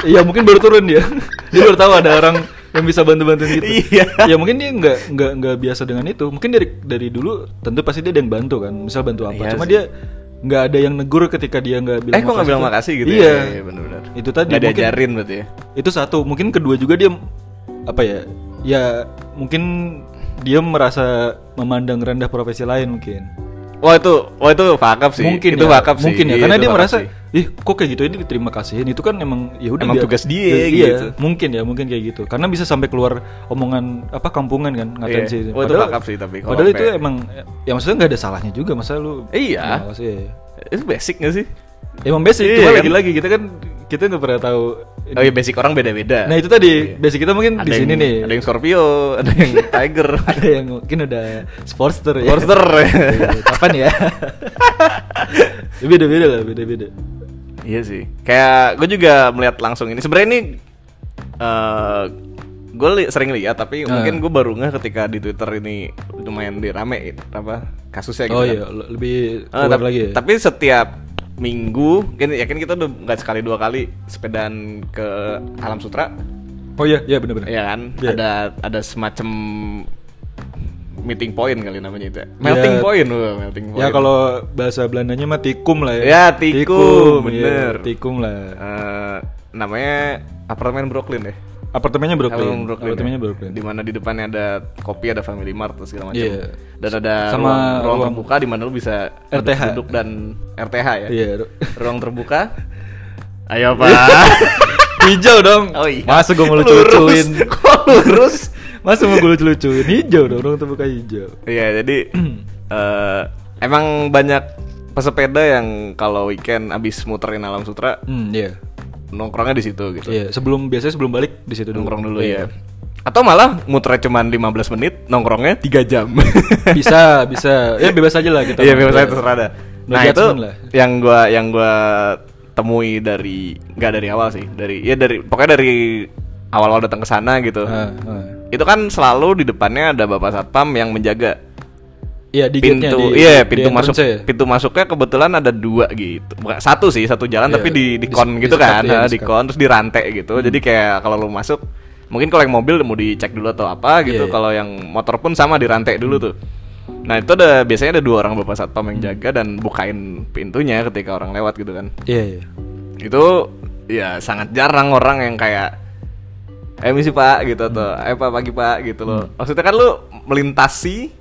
Ya mungkin baru turun dia Dia baru tahu ada orang yang bisa bantu-bantuin gitu Iya. Ya mungkin dia nggak nggak nggak biasa dengan itu Mungkin dari dari dulu tentu pasti dia ada yang bantu kan Misal bantu apa Iya Cuma sih. dia nggak ada yang negur ketika dia nggak bilang eh kok nggak bilang tuh. makasih gitu Iya ya benar-benar Itu tadi nggak mungkin- diajarin berarti ya Itu satu Mungkin kedua juga dia Apa ya Ya mungkin dia merasa memandang rendah profesi lain mungkin wah Oh, itu wah itu fakap sih mungkin itu ya, fakap sih mungkin ya Iya, karena itu dia fakap merasa sih. ih kok kayak gitu ini diterima kasihin itu kan emang ya udah Emang biar- tugas dia ya, gitu. mungkin ya mungkin kayak gitu karena bisa sampai keluar omongan apa kampungan kan ngatain Iya. sih Wah, itu bakap sih, tapi kalau padahal itu sampai- emang ya maksudnya nggak ada salahnya juga masa lu Iya. terima kasih, ya, ya. itu basic gak sih emang basic Iya, cuma kan? lagi-lagi kita kan kita nggak pernah tahu oh iya basic orang beda-beda Iya. nah itu tadi basic kita mungkin ada di yang- sini nih ada yang Scorpio ada yang Tiger ada yang mungkin udah sportster ya Forster iya. Eh, kapan ya Ya, beda-beda lah beda-beda iya sih kayak gue juga melihat langsung ini sebenarnya ini eh gue li- sering lihat tapi Ah. mungkin gue baru ngeh ketika di Twitter ini lumayan dirame apa kasusnya gitu oh kan. iya le- lebih Eh, keluar tap- lagi ya? Tapi setiap minggu, kan ya kan kita udah nggak sekali dua kali sepedaan ke Alam Sutra, Oh iya, iya benar-benar. ya kan? Iya. Ada ada semacam meeting point kali namanya itu. ya. Melting Ya. point, wah, melting point. Ya kalau bahasa Belandanya mah tikum lah ya. Ya, tikum, iya, bener. tikum lah. Eh, namanya apartemen Brooklyn deh. Apartemennya Brooklyn. Apartemen Brooklyn. Apartemennya ya. Brooklyn. Di mana di depannya ada kopi, ada Family Mart dan segala macam. Iya. Dan ada Sama ruang, ruang ruang- terbuka di mana lu bisa RTH. duduk dan RTH ya. Iya. Ruang terbuka. Ayo, Pak. Hijau dong. Oh iya. Masa gua mau lucu-lucuin. Lurus. Kok lurus? Masa mau gue lucu-lucuin hijau dong, orang terbuka hijau. Iya, jadi eh, emang banyak pesepeda yang kalau weekend abis muterin alam sutra Hmm, iya. nongkrongnya di situ gitu. Iya, sebelum biasanya sebelum balik di situ Iya. Nongkrong dulu ya. Atau malah muternya cuma 15 menit, nongkrongnya 3 jam. bisa, bisa. Ya bebas aja lah kita. Iya, bebas saya terserah dah. No Nah, itu judgment lah. yang gua yang gua temui dari nggak dari awal sih, dari ya dari pokoknya dari awal-awal datang ke sana gitu. Ah, ah. Itu kan selalu di depannya ada bapak satpam yang menjaga Iya, di gate-nya, pintu di di iya pintu masuk entrance-nya ya. pintu masuknya kebetulan ada dua gitu bukan satu sih satu jalan Iya, tapi di di- di kon di gitu sekat, kan iya, nah, di di sekat. Hmm. kon terus di rantai gitu jadi kayak kalau lu masuk mungkin kalau yang mobil mau dicek dulu atau apa Iya, gitu Hmm. iya. kalau yang motor pun sama di rantai dulu tuh nah itu ada biasanya ada dua orang bapak satpam yang jaga dan bukain pintunya ketika orang lewat gitu kan Iya, iya. itu ya sangat jarang orang yang kayak eh misi pak gitu atau Hmm. eh pak pagi pak gitu loh maksudnya kan lu melintasi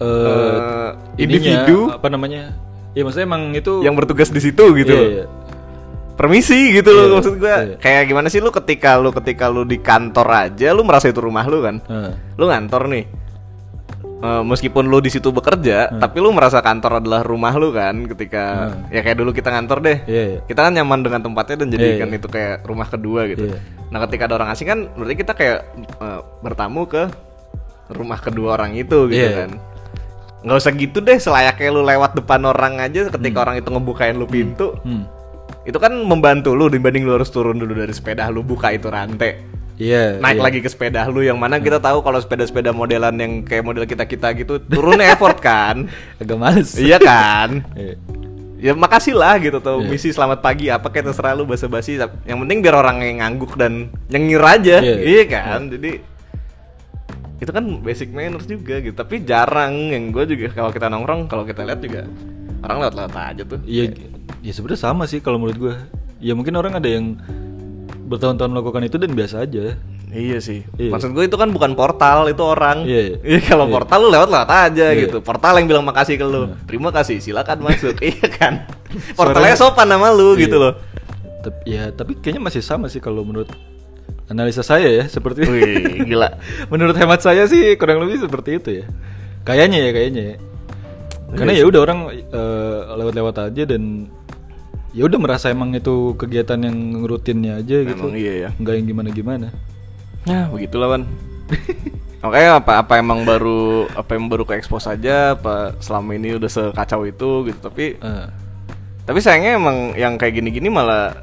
Eh, eh, ininya, individu apa namanya? Ya maksudnya emang itu yang bertugas di situ gitu Iya, loh. iya. Permisi gitu loh Iya, maksud gua. iya. Kayak gimana sih lu ketika lu ketika lu di kantor aja lu merasa itu rumah lu kan. Ah. Lu ngantor nih. Eh, meskipun lu di situ bekerja, Hmm. tapi lu merasa kantor adalah rumah lu kan ketika ya kayak dulu kita ngantor deh. Iya, iya. Kita kan nyaman dengan tempatnya dan jadikan itu kayak rumah kedua gitu. Iya. Nah, ketika ada orang asing kan berarti kita kayak eh, bertamu ke rumah kedua orang itu gitu Iya. kan. Nggak usah gitu deh, selayaknya lu lewat depan orang aja ketika orang itu ngebukain lu pintu Hmm. itu itu kan membantu lu dibanding lu harus turun dulu dari sepeda lu buka itu rantai Iya. iya. naik Hmm. lagi ke sepeda lu yang mana kita tahu kalau sepeda-sepeda modelan yang kayak model kita kita gitu turunnya effort kan agak males. iya kan Iya. ya makasih lah gitu Iya. tuh misi selamat pagi apa kayak terserah lu basa basi yang penting biar orang yang ngangguk dan nyengir aja Iya. iya kan jadi itu kan basic manners juga gitu tapi jarang yang gue juga kalau kita nongkrong kalau kita lihat juga orang lewat-lewat aja tuh Iya, ya sebenarnya sama sih kalau menurut gue. Ya mungkin orang ada yang bertahun-tahun melakukan itu dan biasa aja. Iya sih. Iya. Maksud gue itu kan bukan portal, itu orang. Iya, Iya, kalau Iya. portal lu lewat-lewat aja Iya. gitu. Portal yang bilang makasih ke lu. Terima kasih, silakan masuk. iya kan? Suaranya- Portalnya sopan sama lu Iya. gitu loh. Tep- ya, tapi kayaknya masih sama sih kalau menurut analisa saya ya seperti Wih, gila. menurut hemat saya sih kurang lebih seperti itu ya. Kayaknya ya kayaknya. ya. Karena ya udah orang eh, lewat-lewat aja dan ya udah merasa emang itu kegiatan yang rutinnya aja gitu. Emang iya ya. Nggak yang gimana-gimana. Ya, Nah, begitulah, Wan. Makanya apa apa emang baru apa yang baru ke expose aja apa selama ini udah sekacau itu gitu. Tapi Eh, Tapi sayangnya emang yang kayak gini-gini malah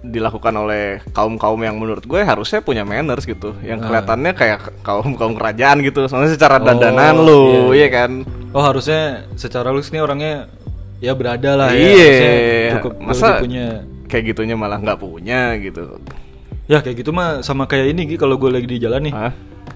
dilakukan oleh kaum-kaum yang menurut gue harusnya punya manners gitu. Yang kelihatannya kayak kaum-kaum kerajaan gitu. Soalnya secara Ah. Oh, dandanan lu, iya, iya kan? Oh harusnya secara looks nih orangnya ya berada lah ya. Harusnya Iya. Cukup Masa masa punya. kayak gitunya malah nggak punya gitu. Ya kayak gitu mah sama kayak ini Gi, kalau gue lagi di jalan nih Hah?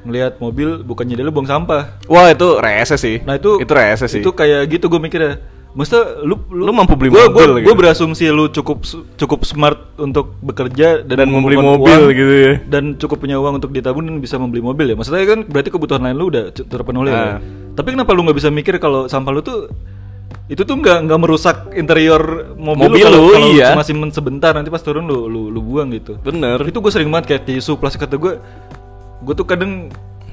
ngelihat mobil bukannya dia lu buang sampah. Wah, itu rese sih. Nah itu itu rese sih. Itu kayak gitu gue mikirnya. Maksudnya lu Lu mampu beli gua- gua, mobil gitu. Gue berasumsi lu cukup cukup smart untuk bekerja dan, Dan membeli mengumpulkan mobil gitu ya. Dan cukup punya uang untuk ditabung dan bisa membeli mobil ya. Maksudnya kan berarti kebutuhan lain lu udah cu- terpenuhi ya. Ah. Tapi kenapa lu nggak bisa mikir kalau sampah lu tuh itu tuh nggak nggak merusak interior mobil, Mobil kalau- lu, kalau iya. cuma simpen sebentar nanti pas turun lu lu, lu buang gitu. Bener. Itu gue sering banget kayak tisu plastik kata gue Gue tuh kadang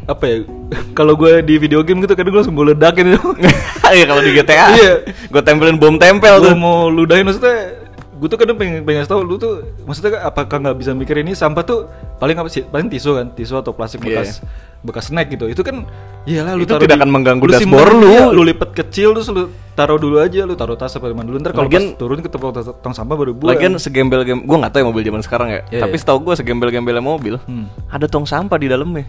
apa ya kalau gue di video game gitu kadang gue langsung gue ledakin gitu. Iya kalau di GTA. Iya. Gue tempelin bom tempel gue tuh. mau ludahin maksudnya gue tuh kadang pengen pengen tahu lu tuh maksudnya apakah nggak bisa mikir ini sampah tuh paling apa sih paling tisu kan tisu atau plastik Iya. bekas bekas snack gitu itu kan iyalah lu Itu taruh tidak di- akan mengganggu lu dashboard simpen, lu. iya, lu lipat kecil terus lu taruh dulu aja lu taruh tas apa di mana dulu ntar kalau pas Lagian- turun ke tong, tong sampah baru buang Lagian segembel gembel gue nggak tahu ya mobil zaman sekarang ya. Iya, tapi iya. setahu gue segembel gembelnya mobil, Hmm. ada tong sampah di dalamnya.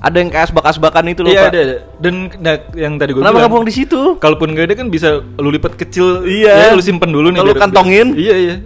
Ada yang kayak asbak-asbakan itu loh, iya Pak. ada, ada. dan nah, yang tadi gue Kenapa nggak buang di situ? Kalaupun gak ada kan bisa lu lipat kecil ya, Iya. lu simpen dulu nih Atau lu biar- kantongin. iya iya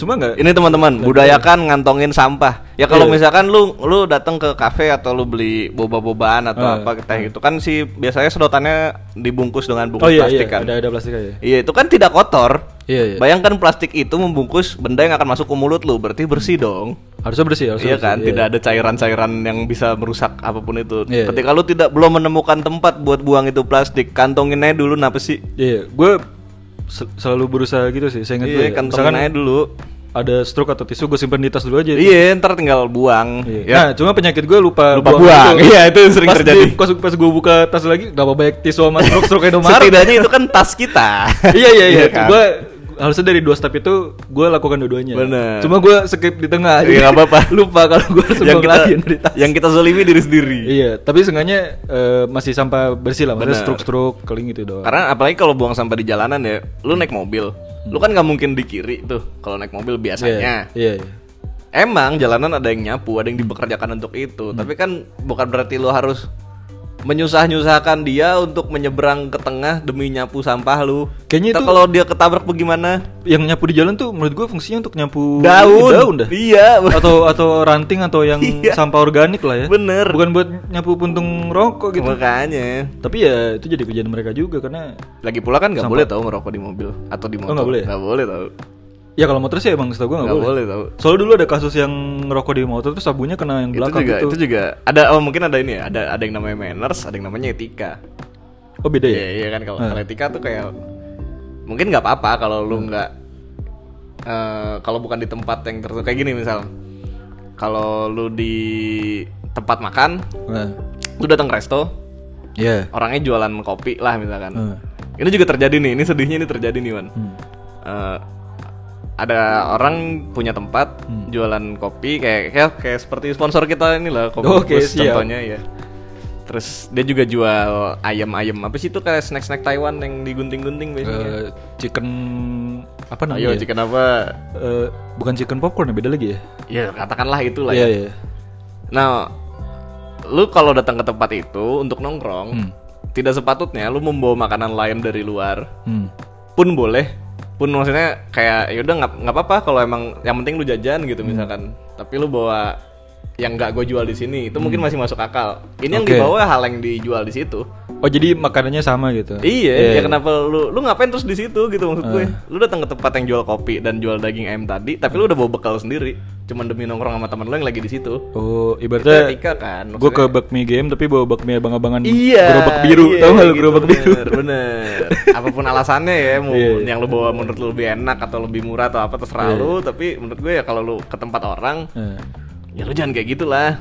cuma nggak Ini teman-teman, budayakan ngantongin sampah. Ya kalau Iya. misalkan lu lu datang ke kafe atau lu beli boba-bobaan Ah, atau apa teh itu kan si biasanya sedotannya dibungkus dengan oh bungkus iya iya plastik kan. ada ada plastik aja Iya, itu kan tidak kotor. iya iya Bayangkan plastik itu membungkus benda yang akan masuk ke mulut lu, berarti bersih dong. harusnya bersih harusnya Iya bersih, kan, tidak ada cairan-cairan yang bisa merusak apapun itu. Iya, Ketika lu tidak belum menemukan tempat buat buang itu plastik, kantongin aja dulu napa sih? Iya, gue sel- selalu berusaha gitu sih. Saya ingat dulu Iya, ya. kantongin Misalkan aja dulu. ada stroke atau tisu, gue simpen di tas dulu aja. Iya, ntar tinggal buang. Iya. Ya. Nah, cuma penyakit gue lupa Lupa buang. gitu. Iya, itu sering pas terjadi. Di, pas pas gue buka tas lagi, gak apa banyak tisu sama stroke stroke Indomaret. Setidaknya itu kan tas kita. iya iya iya. kan? Gue harusnya dari dua step itu gue lakukan dua-duanya. Bener. Cuma gue skip di tengah. Iya, nggak apa-apa. lupa kalau gue harus yang buang kita lagi dari tas. yang kita zolimi diri sendiri. Iya, tapi seenggaknya eh, masih sampah bersih lah, maksudnya Bener. stroke-stroke keling gitu doang. Karena apalagi kalau buang sampah di jalanan ya, lu naik mobil. Lu kan nggak mungkin di kiri tuh kalau naik mobil biasanya. Iya, iya, iya. Emang jalanan ada yang nyapu, ada yang dipekerjakan untuk Hmm. itu. Tapi kan bukan berarti lo harus menyusah-nyusahkan dia untuk menyeberang ke tengah demi nyapu sampah lu. Kayaknya Ntar itu- kalau dia ketabrak bagaimana? yang nyapu di jalan tuh menurut gue fungsinya untuk nyapu Daun. daun dah Iya. atau atau ranting atau yang sampah organik lah ya Bener. bukan buat nyapu puntung rokok gitu Makanya. tapi ya itu jadi kerjaan mereka juga karena Lagi pula kan nggak Sampah. boleh tahu ngerokok di mobil atau di motor. nggak boleh ya? Nggak boleh tahu. ya kalau motor sih emang setahu gue nggak Nggak boleh. boleh tahu. soalnya dulu ada kasus yang ngerokok di motor terus sabunnya kena yang Itu belakang juga, gitu itu juga ada oh, mungkin ada ini ya, ada ada yang namanya manners, ada yang namanya etika. oh beda ya Iya iya kan kalau kalau etika tuh kayak mungkin nggak apa-apa kalau lu nggak eh, kalau bukan di tempat yang tertentu kayak gini misal kalau lu di tempat makan nah lu datang ke resto iya orangnya jualan kopi lah misalkan Hmm. ini juga terjadi nih ini sedihnya ini terjadi nih Wan Hmm. Eh, ada orang punya tempat Hmm. jualan kopi kayak, kayak kayak seperti sponsor kita ini lah kopi Oke, Bus siap. contohnya ya terus dia juga jual ya? ayam ayam apa sih itu kayak snack snack Taiwan yang digunting gunting biasanya Eh, chicken Eh, apa namanya? Ayo, ya? chicken apa? Eh, bukan chicken popcorn ya, beda lagi ya. Ya katakanlah itulah Iya ya. iya. Nah, lu kalau datang ke tempat itu untuk nongkrong, Hmm. tidak sepatutnya lu membawa makanan lain dari luar Hmm. pun boleh pun maksudnya kayak yaudah nggak nggak apa-apa kalau emang yang penting lu jajan gitu Hmm. misalkan tapi lu bawa yang nggak gue jual di sini itu mungkin masih masuk akal ini yang Hmm. Oke. dibawa hal yang dijual di situ Oh jadi makanannya sama gitu? Iya, iya ya iya. kenapa lu lu ngapain terus di situ gitu maksud gue Eh. lu datang ke tempat yang jual kopi dan jual daging ayam tadi Hmm. tapi lu udah bawa bekal sendiri cuman demi nongkrong sama temen lu yang lagi di situ Oh itu ibaratnya etika kan gue ke maksudnya. bakmi game tapi bawa bakmi abang-abangan Iya. gerobak biru iya, tau gak lu gitu, gerobak biru Bener, bener. Apapun alasannya ya, mau Iya, iya. yang lu bawa menurut lu lebih enak atau lebih murah atau apa terserah lu, tapi menurut gue ya kalau lu ke tempat orang, Nah, ya lu jangan kayak gitulah.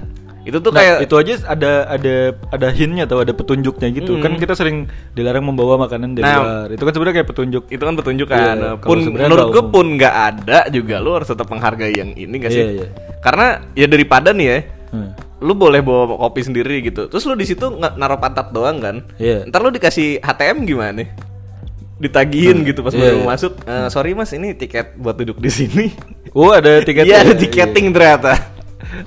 Itu tuh nah, kayak itu aja ada ada ada hintnya atau ada petunjuknya gitu kan kita sering dilarang membawa makanan dari Nah. luar itu kan sebenarnya kayak petunjuk itu kan petunjuk Iya, kan. iya. Kalau pun sebenarnya menurut nggak gue umum. pun nggak ada juga lu harus tetap menghargai yang ini gak sih? Iya, iya. Karena ya daripada nih ya, Hmm. lu boleh bawa kopi sendiri gitu. Terus lu di situ nge- naruh pantat doang kan? Iya. Ntar lu dikasih HTM gimana? Ditagihin gitu pas Iya, baru iya. masuk. "Eh, sorry mas, ini tiket buat duduk di sini. oh ada tiket Iya ada tiketing ternyata.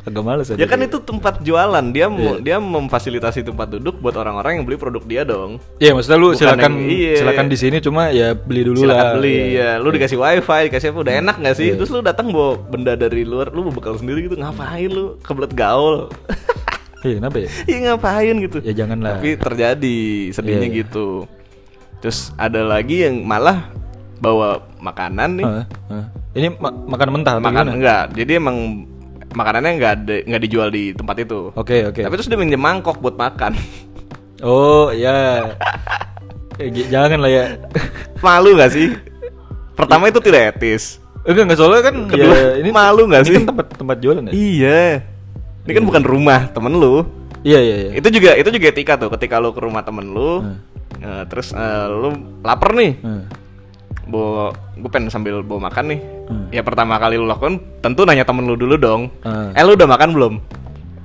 agak males Ya kan itu tempat jualan dia Iya. mau dia memfasilitasi tempat duduk buat orang-orang yang beli produk dia dong. Iya maksudnya lu Bukan silakan yang- iya. silakan di sini cuma ya beli dulu Silakan lah. beli Iya. ya. Lu dikasih wifi, dikasih apa udah enak gak sih? Terus lu datang bawa benda dari luar, lu mau bekal sendiri gitu ngapain lu? Kebelet gaul. Iya kenapa ya? Iya ngapain gitu. Ya jangan lah. Tapi terjadi Iya, sedihnya iya. gitu. Terus ada lagi yang malah bawa makanan nih. Hah? Hah? Ini ma- makan mentah atau Makan gimana? enggak. Jadi emang makanannya enggak ada enggak dijual di tempat itu. Oke oke. Tapi terus dia minjem mangkok buat makan. Oh ya. Eh, j- jangan lah ya. Malu gak sih? Pertama itu tidak etis. Enggak enggak soalnya kan Kedua, ya, ini malu Ini nggak sih? kan tempat tempat jualan ya? Iya. Ini kan bukan rumah temen lu. Iya iya iya. Itu juga itu juga etika tuh ketika lu ke rumah temen lu. Hmm. eh, terus eh, lu lapar nih. Hmm. bawa gue pengen sambil bawa makan nih Hmm. ya pertama kali lu lakukan tentu nanya temen lu dulu dong Hmm. eh lu udah makan belum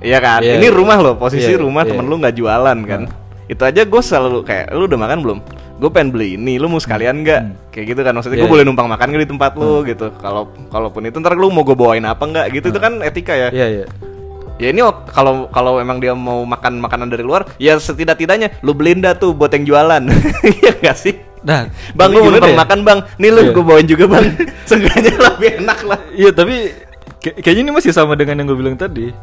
iya kan Iya, ini iya. rumah lo posisi Iya, rumah iya. Hmm. temen lu nggak jualan kan itu aja gue selalu kayak lu udah makan belum gue pengen beli ini lu mau sekalian nggak kayak gitu kan maksudnya Iya, iya. gue Hmm. boleh numpang makan nggak di tempat lu gitu kalau kalaupun itu ntar lu mau gue bawain apa nggak gitu itu kan etika ya Iya iya. ya ini ok- kalau kalau emang dia mau makan makanan dari luar ya setidak-tidaknya lu beliin dah tuh buat yang jualan iya nggak sih Nah, Bang, tapi gue mau gimana numpang ya? makan bang Nih lu Iya. gue bawain juga bang Seenggaknya lebih enak lah Iya, tapi kayak- kayaknya ini masih sama dengan yang gue bilang tadi.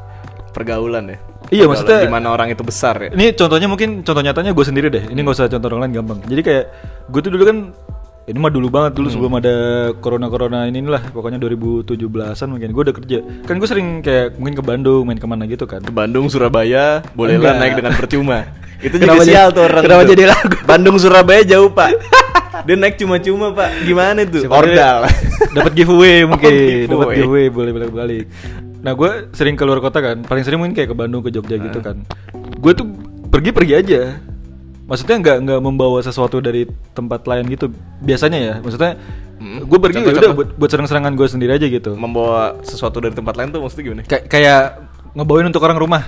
Pergaulan ya Iya, maksudnya- Dimana orang itu besar ya Ini contohnya mungkin contoh nyatanya gue sendiri deh. Ini nggak usah contoh orang lain gampang. Jadi kayak gue tuh dulu kan ini mah dulu banget dulu sebelum ada corona corona ini lah pokoknya 2017an mungkin gue udah kerja kan gue sering kayak mungkin ke Bandung main kemana gitu kan Ke Bandung, Surabaya Bolehlah Enggak. naik dengan percuma Itu Kenapa juga jadi- sial tuh orang kenapa tuh. jadi lagu? Bandung, Surabaya jauh pak Dia naik cuma-cuma pak Gimana tuh? Siapa Ordal Oh, tahu dapat giveaway mungkin giveaway. dapat giveaway boleh balik balik nah gue sering keluar kota kan paling sering mungkin kayak ke Bandung ke Jogja gitu Ah. kan gue tuh pergi pergi aja maksudnya nggak nggak membawa sesuatu dari tempat lain gitu biasanya ya maksudnya Hmm. gue pergi ya udah buat, buat serang-serangan gue sendiri aja gitu Membawa sesuatu dari tempat lain tuh maksudnya gimana? Kay- kayak ngebawain untuk orang rumah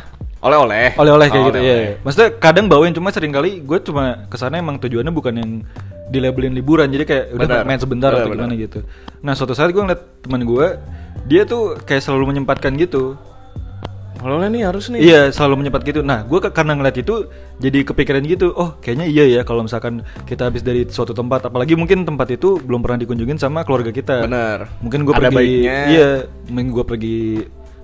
Ya. Oleh-oleh Oh, iya. oleh-oleh kayak gitu ya Oleh-oleh. maksudnya kadang bawain cuma sering kali gue cuma kesana emang tujuannya bukan yang di labelin liburan jadi kayak udah Benar. main sebentar Benar, atau benar. gimana gitu nah suatu saat gue ngeliat teman gue dia tuh kayak selalu menyempatkan gitu Oleh-oleh nih harus nih Iya selalu menyepat gitu. Nah, gue karena ngeliat itu jadi kepikiran gitu. Oh, kayaknya iya ya kalau misalkan kita habis dari suatu tempat, apalagi mungkin tempat itu belum pernah dikunjungin sama keluarga kita. Bener Mungkin gue Ada pergi. baiknya. Iya, mungkin gue pergi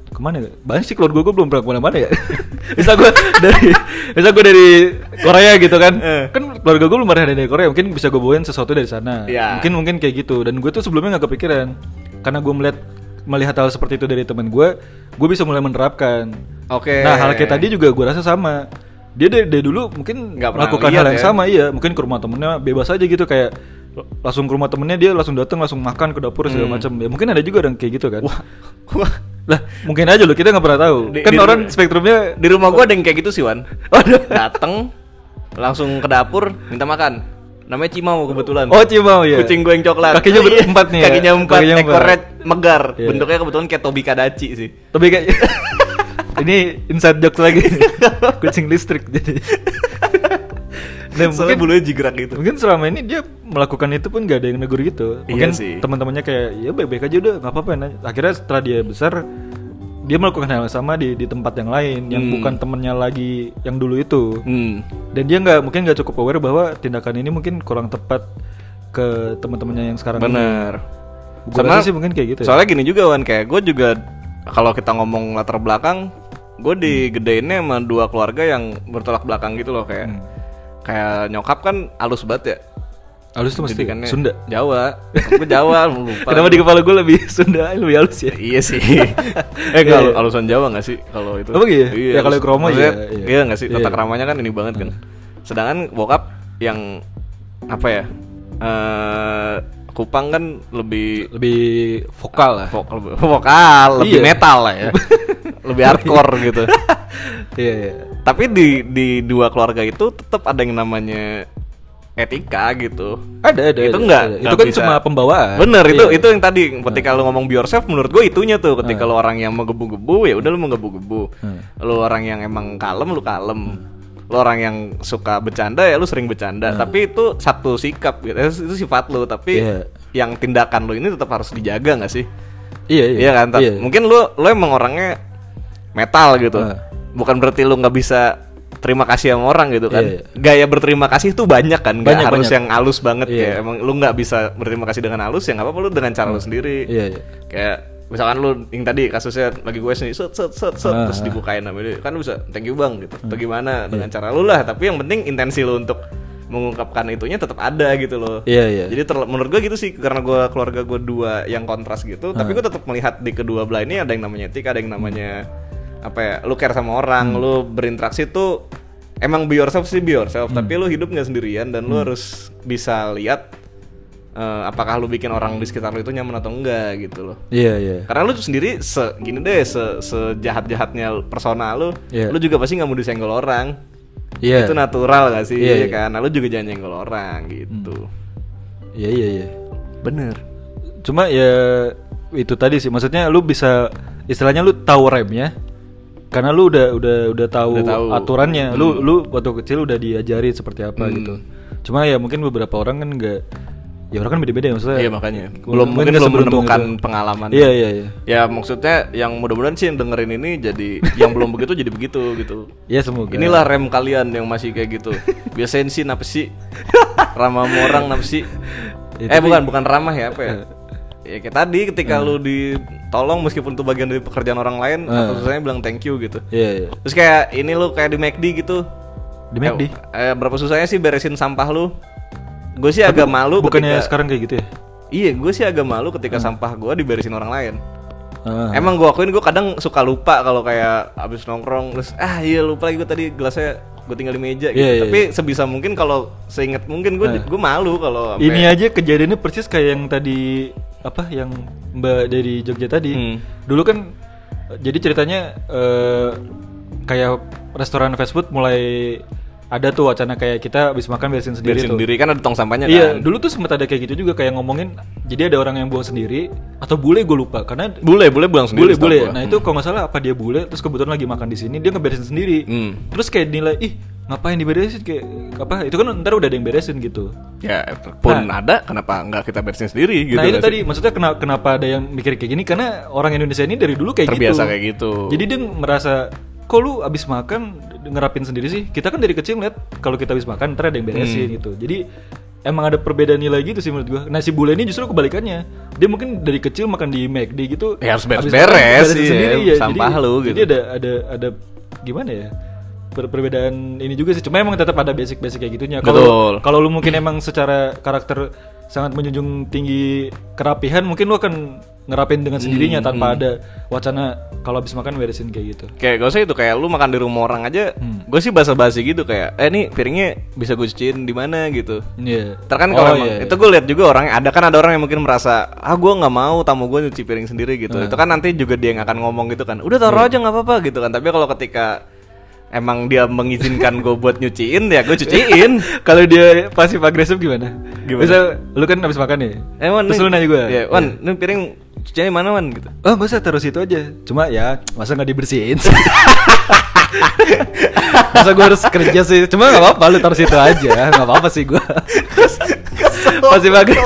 kemana ya? Banyak sih keluarga gue belum pernah kemana-mana ya. bisa gue dari, bisa gue dari Korea gitu kan? Eh. Kan keluarga gue belum pernah ada dari Korea. Mungkin bisa gue bawain sesuatu dari sana. Iya. Mungkin mungkin kayak gitu. Dan gue tuh sebelumnya nggak kepikiran karena gue melihat melihat hal seperti itu dari teman gue, gue bisa mulai menerapkan. Oke Nah hal kayak tadi juga gue rasa sama. Dia dari, dari dulu mungkin Nggak nggak pernah melakukan lihat hal yang ya. sama iya. Mungkin ke rumah temennya bebas aja gitu kayak l- langsung ke rumah temennya dia langsung datang langsung makan ke dapur segala macam. Ya mungkin ada juga orang kayak gitu kan. Wah. Hmm. Wah, Lah mungkin aja loh kita nggak pernah tahu. Di- kan di- orang spektrumnya Di rumah gua ada yang kayak gitu sih Wan Dateng Langsung ke dapur Minta makan Namanya Cimau kebetulan Oh cimau ya. Kucing gue yang coklat Kakinya Oh, iya. berempat nih ya? Kakinya empat Kakinya empat. Ekornya megar Iya. Bentuknya kebetulan kayak Tobi Kadachi sih Tapi kayak ini inside jokes lagi. Kucing listrik jadi. Nah, Soalnya mungkin- bulunya jigrak gitu. Mungkin selama ini dia melakukan itu pun gak ada yang negur gitu. Iya Mungkin sih. teman-temannya kayak ya baik-baik aja udah nggak apa-apa. Nah, akhirnya setelah dia besar dia melakukan hal yang sama di di tempat yang lain yang Hmm. bukan temennya lagi yang dulu itu. Hmm. Dan dia nggak mungkin nggak cukup aware bahwa tindakan ini mungkin kurang tepat ke teman-temannya yang sekarang. Bener. Gua rasa sih mungkin kayak gitu ya. Soalnya gini juga Wan kayak gue juga kalau kita ngomong latar belakang, gue digedeinnya sama dua keluarga yang bertolak belakang gitu loh Hmm. kayak kayak nyokap kan halus banget ya. Halus tuh mesti Didikannya Sunda. Jawa. Gue Jawa lu lupa. Kenapa di kepala gue lebih Sunda lebih halus ya? Iya sih. eh Iya, enggak iya. alusan Jawa enggak sih kalau itu? Apa gitu ya? Ya, kalau halus- kromo maksudnya, iya, iya. Iya enggak sih? Iya, Tata iya. keramanya kan ini banget kan. Sedangkan bokap yang apa ya? Eh Kupang kan lebih Lebih vokal lah. vokal, vokal Iya. lebih metal lah ya. lebih hardcore gitu. Iya. iya. Tapi di di dua keluarga itu tetap ada yang namanya etika gitu. Ada ada. itu ada, enggak ada. enggak Itu kan bisa. cuma pembawaan. bener itu Iya. Nah. itu yang tadi ketika lu ngomong be yourself menurut gue itunya tuh ketika lu orang yang menggebu-gebu ya udah lu menggebu-gebu Hmm. lu orang yang emang kalem lu kalem lu orang yang suka bercanda ya lu sering Nah. bercanda tapi itu satu sikap gitu Eh, itu sifat lu tapi Iya. yang tindakan lu ini tetap harus dijaga nggak sih Iya iya. iya kan Tat? Iya. mungkin lu lu emang orangnya metal gitu Ah. bukan berarti lu nggak bisa terima kasih sama orang gitu kan Iya, iya. gaya berterima kasih tuh banyak kan nggak Banyak, harus banyak. yang halus banget Iya. ya emang lu nggak bisa berterima kasih dengan halus ya nggak apa-apa lu dengan cara lu sendiri Iya, iya. kayak misalkan lu yang tadi kasusnya lagi gue sendiri set set set set Ah, terus ah. dibukain sama dia kan lu bisa thank you bang gitu Nah. atau Iya. gimana dengan cara lu lah tapi yang penting intensi lu untuk mengungkapkan itunya tetap ada gitu loh Iya, iya. jadi terle- menurut gue gitu sih karena gue keluarga gue dua yang kontras gitu tapi gue tetap melihat di kedua belah ini ada yang namanya etika ada yang namanya apa ya lu care sama Hmm. orang lu berinteraksi tuh emang be yourself sih be yourself Hmm. tapi lu hidup nggak sendirian dan lu harus bisa lihat eh, apakah lu bikin orang di sekitar lu itu nyaman atau enggak gitu loh Iya iya. karena lu sendiri se gini deh se sejahat jahatnya persona lu Iya. lu juga pasti nggak mau disenggol orang Iya. itu natural gak sih Iya, iya. Iya kan nah, lu juga jangan nyenggol orang gitu Iya iya iya. bener Cuma ya itu tadi sih maksudnya lu bisa istilahnya lu tahu remnya karena lu udah udah udah tahu, Hmm. Udah tahu. aturannya. Lu lu waktu kecil udah diajari seperti apa gitu. Cuma ya mungkin beberapa orang kan nggak ya orang kan beda-beda ya maksudnya. Iya makanya Mungkin belum mungkin nggak belum seberuntung menemukan itu. pengalaman. Iya iya iya. Ya maksudnya yang mudah-mudahan sih yang dengerin ini jadi yang belum begitu jadi begitu gitu. Ya semoga. Inilah rem kalian yang masih kayak gitu. Biasain sih napa sih? Ramah sama orang napa sih? Ya, Eh. eh bukan bukan ramah ya apa ya? Ya kayak tadi ketika lu ditolong meskipun itu bagian dari pekerjaan orang lain Eh. atau susahnya bilang thank you gitu. Iya iya. Terus kayak ini lu kayak di McD gitu. Di McD. Eh, eh, berapa susahnya sih beresin sampah lu? Gue sih agak malu Bukannya ketika- sekarang kayak gitu ya? Iya, gue sih agak malu ketika Hmm. sampah gue diberisin orang lain. Ah. Emang gue akuin gue kadang suka lupa kalau kayak abis nongkrong terus ah iya lupa lagi gue tadi gelasnya gue tinggal di meja gitu. Iya, iya, Hmm. Tapi sebisa mungkin kalau seingat mungkin gue gue malu kalau sampai- Ini ya, aja kejadiannya persis kayak yang tadi apa yang Mbak dari Jogja tadi. Hmm. Dulu kan eh, jadi ceritanya eh, kayak restoran fast food mulai ada tuh wacana kayak kita habis makan beresin sendiri beresin tuh. sendiri kan ada tong sampahnya Iya, kan. dulu tuh sempat ada kayak gitu juga kayak ngomongin jadi ada orang yang buang sendiri atau bule gue lupa karena Bule bule buang bule sendiri. setahu bule. gua. Nah, itu kalau nggak salah apa dia bule terus kebetulan lagi makan di sini dia ngeberesin sendiri. Hmm. Terus kayak nilai ih ngapain diberesin kayak apa itu kan ntar udah ada yang beresin gitu ya pun ada kenapa nggak kita beresin sendiri gitu. nah itu nggak tadi sih? maksudnya kenapa, kenapa ada yang mikir kayak gini karena orang Indonesia ini dari dulu kayak gitu. terbiasa kayak gitu. Jadi dia merasa kok lu abis makan ngerapin sendiri sih. Kita kan dari kecil ngeliat kalau kita abis makan ntar ada yang beresin Hmm. gitu. Jadi emang ada perbedaan nilai gitu sih menurut gua. Nah si bule ini justru kebalikannya. Dia mungkin dari kecil makan di McD gitu. Ya, harus abis beres-beres makan beresin sih, ya. Jadi- Sampah lu jadi gitu. ada ada ada gimana ya? Per- perbedaan ini juga sih. Cuma emang tetap ada basic-basic kayak gitunya. Betul. Kalau kalau lu mungkin emang secara karakter sangat menjunjung tinggi kerapihan, mungkin lu akan ngerapin dengan sendirinya tanpa ada wacana kalau habis makan beresin kayak gitu. Kayak gak usah itu kayak lu makan di rumah orang aja, Hmm. gue sih basa-basi gitu kayak, eh nih piringnya bisa gue cuciin di mana gitu. Iya. Ntar kan Oh, kalau emang- iya, iya. itu gue lihat juga orang ada kan ada orang yang mungkin merasa ah gue nggak mau tamu gue nyuci piring sendiri gitu itu kan nanti juga dia yang akan ngomong gitu kan udah Iya. taruh aja nggak apa-apa gitu kan tapi kalau ketika emang dia mengizinkan gue buat nyuciin ya gue cuciin kalau dia pasif agresif gimana? Gimana? Misal lu kan habis makan nih. eh wan terus nih- lu nanya Iya. gue. ya, wan nih piring cuciannya mana wan gitu Oh, gak usah taruh situ aja. Cuma ya, masa nggak dibersihin? Masa gue harus kerja sih Cuma gak apa-apa lu taruh situ aja Gak apa-apa sih gue Pasti bagus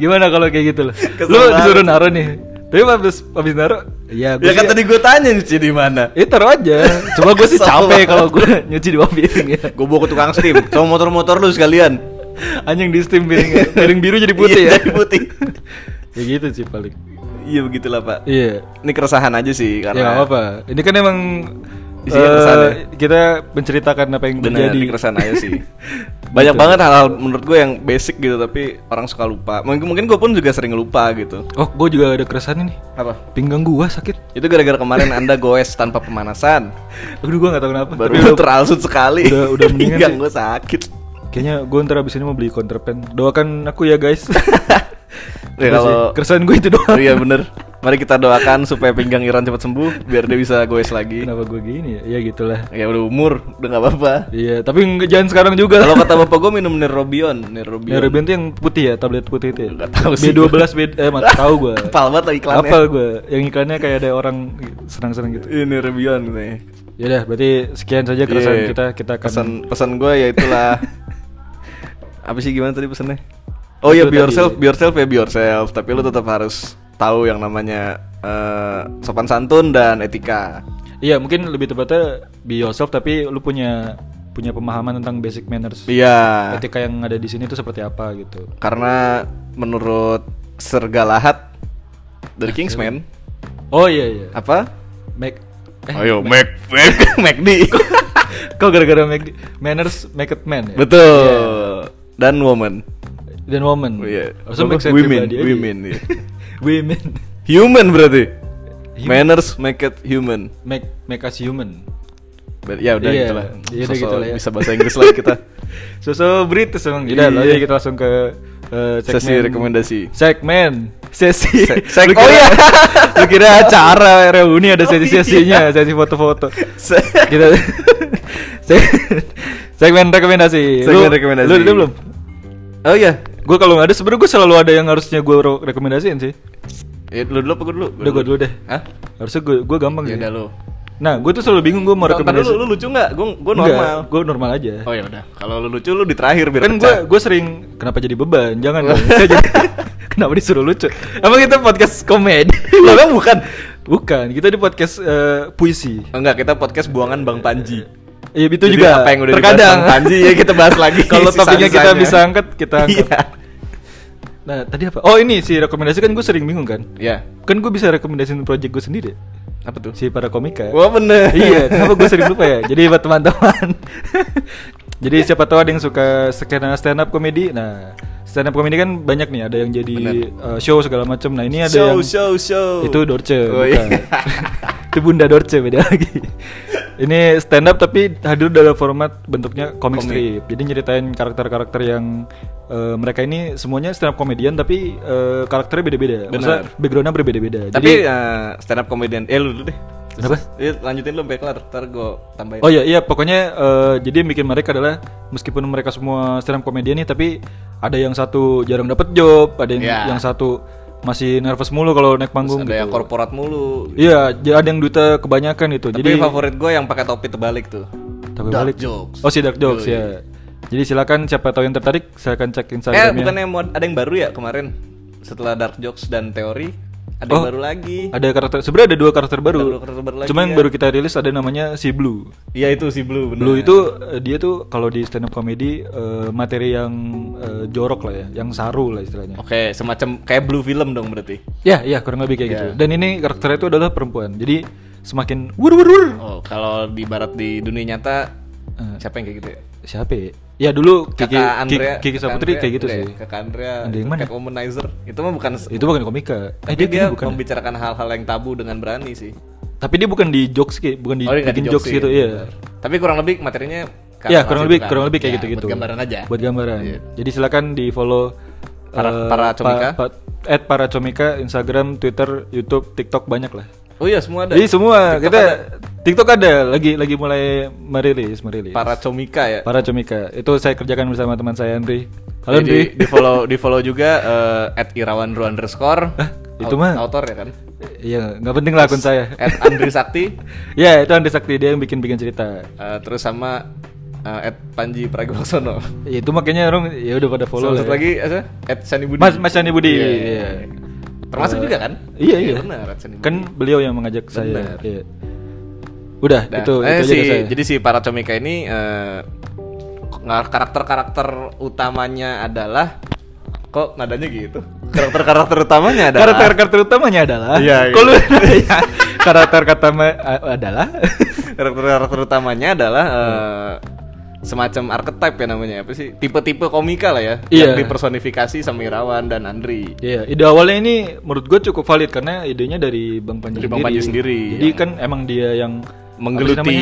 Gimana kalau kayak gitu loh Kesel Lu banget. disuruh naruh nih Tapi abis, abis naruh Ya gue ya kan tadi gue tanya nyuci di mana Ya taruh aja Cuma gue sih Kesel capek banget. kalau gue nyuci di bawah piring ya gue bawa ke tukang steam sama motor-motor lu sekalian Anjing di steam piringnya Piring biru jadi putih Iya, ya jadi putih Ya gitu sih paling iya begitulah pak Iya ini keresahan aja sih Ya nggak karena apa-apa Ini kan emang Isinya eh, keresahan ya? Kita menceritakan apa yang benar terjadi Gitu. ini keresahan aja sih banyak banget hal-hal menurut gue yang basic gitu tapi orang suka lupa mungkin mungkin gue pun juga sering lupa gitu Oh gue juga ada keresahan ini apa Pinggang gue sakit itu gara-gara kemarin anda goes tanpa pemanasan Aduh gue gak tau kenapa baru Tapi lu udah- teralsut sekali udah- udah mendingan pinggang sih. gue sakit Kayaknya gue ntar abis ini mau beli kontrapen Doakan aku ya guys Udah ya sih, kalau Keresahan gue itu doang Oh iya bener mari kita doakan supaya pinggang Iran cepat sembuh biar dia bisa goes lagi Kenapa gue gini ya Ya gitulah ya udah umur udah nggak apa-apa Iya tapi nggak- jangan sekarang juga kalau kata bapak gue minum Nerobion Nerobion Neurobion tuh yang putih ya Tablet putih itu ya Nggak tahu sih B12 B... Eh mata tau gue Kepal banget lagi iklannya Apa gue Yang iklannya kayak ada orang Senang-senang gitu Ini Nerobion Iya, nih Yaudah berarti sekian saja keresahan Iya. kita Kita akan pesan pesan gue ya itulah apa sih gimana tadi pesannya oh iya Itu be tadi. yourself be yourself ya be yourself tapi lu tetap harus tahu yang namanya eh, sopan santun dan etika Iya mungkin lebih tepatnya Be yourself tapi lu punya Punya pemahaman tentang basic manners iya Etika yang ada di sini tuh seperti apa gitu karena menurut Sir Galahad dari Kingsman Oh iya iya apa Make ayo Mac Mac MacD Kok gara-gara make manners make it man ya? betul dan woman Dan woman. Iya. Harusnya make Bagus, saya women pribadi aja. women iya. women. human berarti Human. manners make it human Make make us human. Ber- Ya udah Iya, gitu lah. iya udah Sosok gitu lah ya. Bisa bahasa Inggris lagi kita. So-so British emang. Iya. Udah, lalu kita langsung ke eh, segmen Sesi rekomendasi. Segmen sesi. Se- sek- Lu kira- oh iya. Lu kira acara reuni ada Oh, sesi-sesinya, sesi foto-foto. Se- Kita se- segmen rekomendasi. Segmen Lu- rekomendasi. Lu, udah belum? Oh iya. Gue kalau nggak ada sebenarnya gue selalu ada yang harusnya gue rekomendasiin sih. Ya lu dulu apa gue dulu? Udah gue dulu deh. Hah? Harusnya gue gue gampang Ya sih. udah lu. Nah, gue tuh selalu bingung gue mau Ntar- ntar rekomendasi. dulu, lu lucu enggak? Gue gue normal. Gue normal aja. Oh ya udah. Kalau lu lucu lu di terakhir biar kan gue pecah. gue sering kenapa jadi beban? Jangan dong. Saya jadi- kenapa disuruh lucu? Emang kita podcast komedi? Lah, bukan. Bukan, kita di podcast eh, puisi. Enggak, kita podcast buangan Bang Panji. Iya, itu Jadi juga. apa yang udah dibahas terkadang. Bang Panji, ya kita bahas lagi Kalau topiknya kita sisa-sisanya. bisa angkat, kita angkat. Iya. Nah, tadi apa? Oh, ini si rekomendasi kan gue sering bingung kan. Iya. Kan gue bisa rekomendasiin project gue sendiri. Apa tuh? Si para komika. Wah bener. iya, kenapa gue sering lupa ya? Jadi buat teman-teman. jadi siapa tahu ada yang suka skena stand up komedi. Nah, stand up komedi kan banyak nih, ada yang jadi uh, show segala macam. Nah, ini ada show, yang show, show. itu Dorce. Oh, iya. bukan. itu Bunda Dorce beda lagi. ini stand up tapi hadir dalam format bentuknya comic, Komik. strip. Jadi nyeritain karakter-karakter yang uh, mereka ini semuanya stand up komedian tapi uh, karakternya beda-beda. Maksudnya Benar. backgroundnya berbeda-beda. Tapi eh, stand up comedian. Eh lu dulu deh. Kenapa? Iya, lanjutin lu sampai kelar, ntar gue tambahin. Oh iya iya pokoknya eh, jadi yang bikin mereka adalah meskipun mereka semua stand up komedian nih tapi ada yang satu jarang dapat job, ada yang Iya. yang satu masih nervous mulu kalau naik Terus panggung ada gitu. yang korporat mulu. Iya, j- ada yang duta kebanyakan itu. Tapi jadi favorit gue yang pakai topi terbalik tuh. Tapi Dark balik. jokes. Oh, si dark jokes Yoi. ya. Jadi silakan siapa tahu yang tertarik silakan cek eh Instagramnya. bukannya mau ada yang baru ya kemarin setelah dark jokes dan teori ada yang Oh, baru lagi. Ada karakter sebenarnya ada dua karakter baru. dua karakter baru lagi, Cuma yang ya. baru kita rilis ada namanya si Blue. Iya itu si Blue bener. Blue itu eh, dia tuh kalau di stand up comedy eh, materi yang eh, jorok lah ya, yang saru lah istilahnya. Oke, semacam kayak Blue film dong berarti. Ya, ya kurang lebih kayak gitu. Dan ini karakternya itu adalah perempuan. Jadi semakin wur wur wur. Oh, kalau di barat di dunia nyata Eh. siapa yang kayak gitu ya? Siapa ya? Ya dulu Kiki Kakak Ki- Andrea, ya? Kiki Saputri kayak gitu sih. Kakak Andrea, Ada yang mana? Kakak womanizer. Itu mah bukan Itu bukan komika. Eh dia, dia, kayaknya bukan. membicarakan hal-hal yang tabu dengan berani sih. Tapi dia bukan di jokes kayak bukan di Oh, dia nggak bikin di jokes, jokes sih, gitu, iya. Tapi kurang lebih materinya ke Iya, arah kurang situ lebih kan. kurang lebih kayak Ya, gitu-gitu. Buat gambaran aja. Buat gambaran. Iya. Jadi silakan di-follow Para- eh, para comika. pa- pa- at para comika Instagram, Twitter, YouTube, TikTok banyak lah. Oh iya, semua ada. Jadi semua TikTok kita ada. TikTok ada lagi lagi mulai merilis merilis. para comika ya. Para Comika itu saya kerjakan bersama teman saya Andri. Halo Jadi Andri. di follow di follow juga eh, at irawan__underscore. Itu mah- Autor ya kan? Iya, nggak penting lah akun saya. At Andri Sakti Ya, itu Andri Sakti dia yang bikin-bikin cerita. eh, terus sama eh, at Panji Pragiwaksono. Ya, itu makanya orang ya udah pada follow Sama lah. satu ya. lagi eh, siapa? at Sani Budi. Mas Mas Shani Budi. Iya, Iya. iya, iya. Termasuk Eh, juga kan? Iya, iya. benar, at Sani Budi. Kan beliau yang mengajak saya. Benar. Iya. Udah, Dah. itu Eh, itu si, aja dari saya. jadi si para comika ini eh, ngar- karakter-karakter utamanya adalah kok nadanya gitu. Karakter-karakter utamanya adalah Karakter-karakter utamanya adalah Iya, iya. Kalau Iya. karakter utama adalah karakter-karakter utamanya adalah eh, semacam archetype ya namanya apa sih? Tipe-tipe komika lah ya Iya. yang dipersonifikasi sama Irawan dan Andri. Iya, ide awalnya ini menurut gue cukup valid karena idenya dari Bang Panji Dari Bang Panji sendiri, Jadi yang- kan emang dia yang apa sih namanya? Menggeluti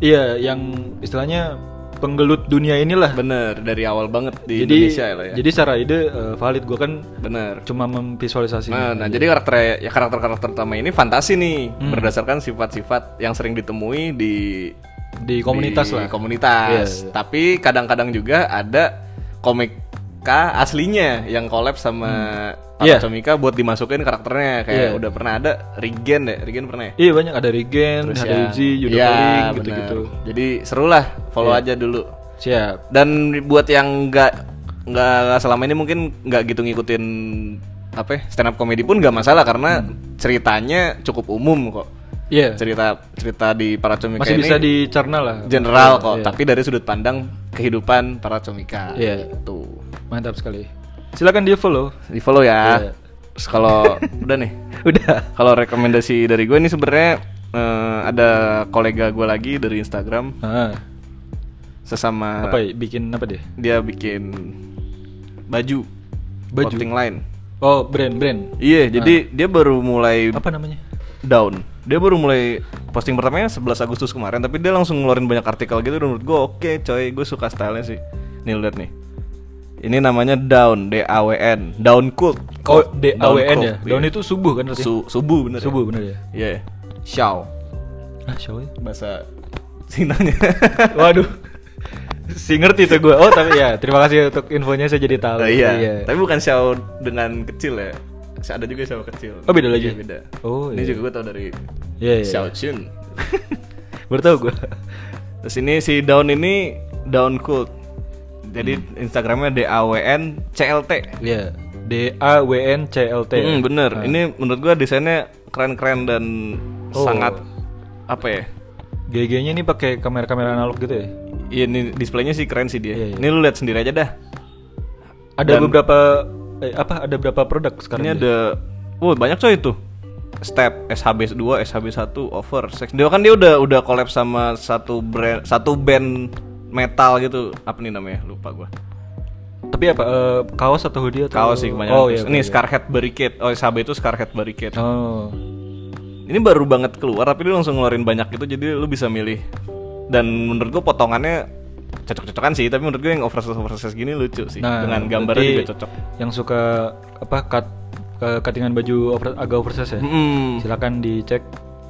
Iya, yang istilahnya penggelut dunia inilah. bener dari awal banget di jadi, Indonesia lah ya. jadi secara ide eh, valid gue kan bener. cuma memvisualisasi. Nah, nah, jadi karakter ya karakter karakter utama ini fantasi nih Hmm. berdasarkan sifat-sifat yang sering ditemui di di komunitas di lah. komunitas. Iya, iya. Tapi kadang-kadang juga ada komika aslinya yang collab sama Iya. para comika buat dimasukin karakternya kayak Iya. udah pernah ada Regen ya, Regen pernah ya? Iya banyak ada Regen, Terus ada ya- Uzi, Yuda Iya, Kuring, bener. gitu-gitu. Iya. Jadi seru lah, follow aja dulu. Siap. Dan buat yang nggak nggak nggak selama ini mungkin nggak gitu ngikutin apa ya, stand up comedy pun nggak masalah karena ceritanya cukup umum kok. Hmm. Iya. Cerita cerita di para comika Masih ini bisa dicerna lah. general kok, Iya. tapi dari sudut pandang kehidupan para comika. Iya. Gitu. Mantap sekali. Silakan dia follow. Di follow Iya. ya. Terus kalau udah nih, Udah. kalau rekomendasi dari gue ini sebenarnya eh, ada kolega gue lagi dari Instagram Ah, sesama apa ya? Bikin apa deh? dia bikin baju Baju? clothing line Oh, brand-brand. iya jadi dia baru mulai Apa namanya? down dia baru mulai posting pertamanya 11 Agustus kemarin tapi dia langsung ngeluarin banyak artikel gitu dan menurut gue oke coy gue suka stylenya sih nih lu liat nih ini namanya down D A W N down cult Oh, DAWN ya. down Daun itu subuh kan rasanya? Su- Iya. subuh bener ya? subuh bener ya. iya yeah. Xiao Ah, show. bahasa Sinanya Waduh. si ngerti tuh gue. Oh, tapi ya, terima kasih untuk infonya saya jadi tahu. Oh, iya. tapi bukan Xiao dengan kecil ya ada juga Xiao kecil Oh, beda lagi? Iya, beda Oh, ini iya. juga gue tau dari Iya, iya. Xiao Jun. Baru tahu gue. Terus ini si Daun ini Daun Cult. Jadi Hmm. Instagramnya D A W N C L T. Iya. D A W N C L T. Nah, Hmm, bener. Ini menurut gua desainnya keren-keren dan Oh. sangat apa ya? GG-nya ini pakai kamera-kamera analog gitu ya. Iya, ini displaynya sih keren sih dia. Iya, iya. Ini lu lihat sendiri aja dah. Ada Dan- beberapa eh, apa ada berapa produk sekarang? ya? dia? ini ada wow banyak coy itu. Step SHB 2, SHB 1, Over, Sex. Dia kan dia udah udah collab sama satu brand satu band metal gitu. Apa nih namanya? Lupa gua. Tapi apa eh, kaos atau hoodie atau Kaos sih kebanyakan. Oh Terus iya. ini iya. Scarhead Barricade. Oh, SHB itu Scarhead Barricade. Oh. Ini baru banget keluar tapi dia langsung ngeluarin banyak itu jadi lu bisa milih. Dan menurut gua potongannya cocok-cocokan sih, tapi menurut gua yang oversize oversize gini lucu sih. Dengan gambarnya Nah, berarti juga cocok. Yang suka apa cut ke- cuttingan baju over- agak oversize ya. Mm-mm. Silakan dicek.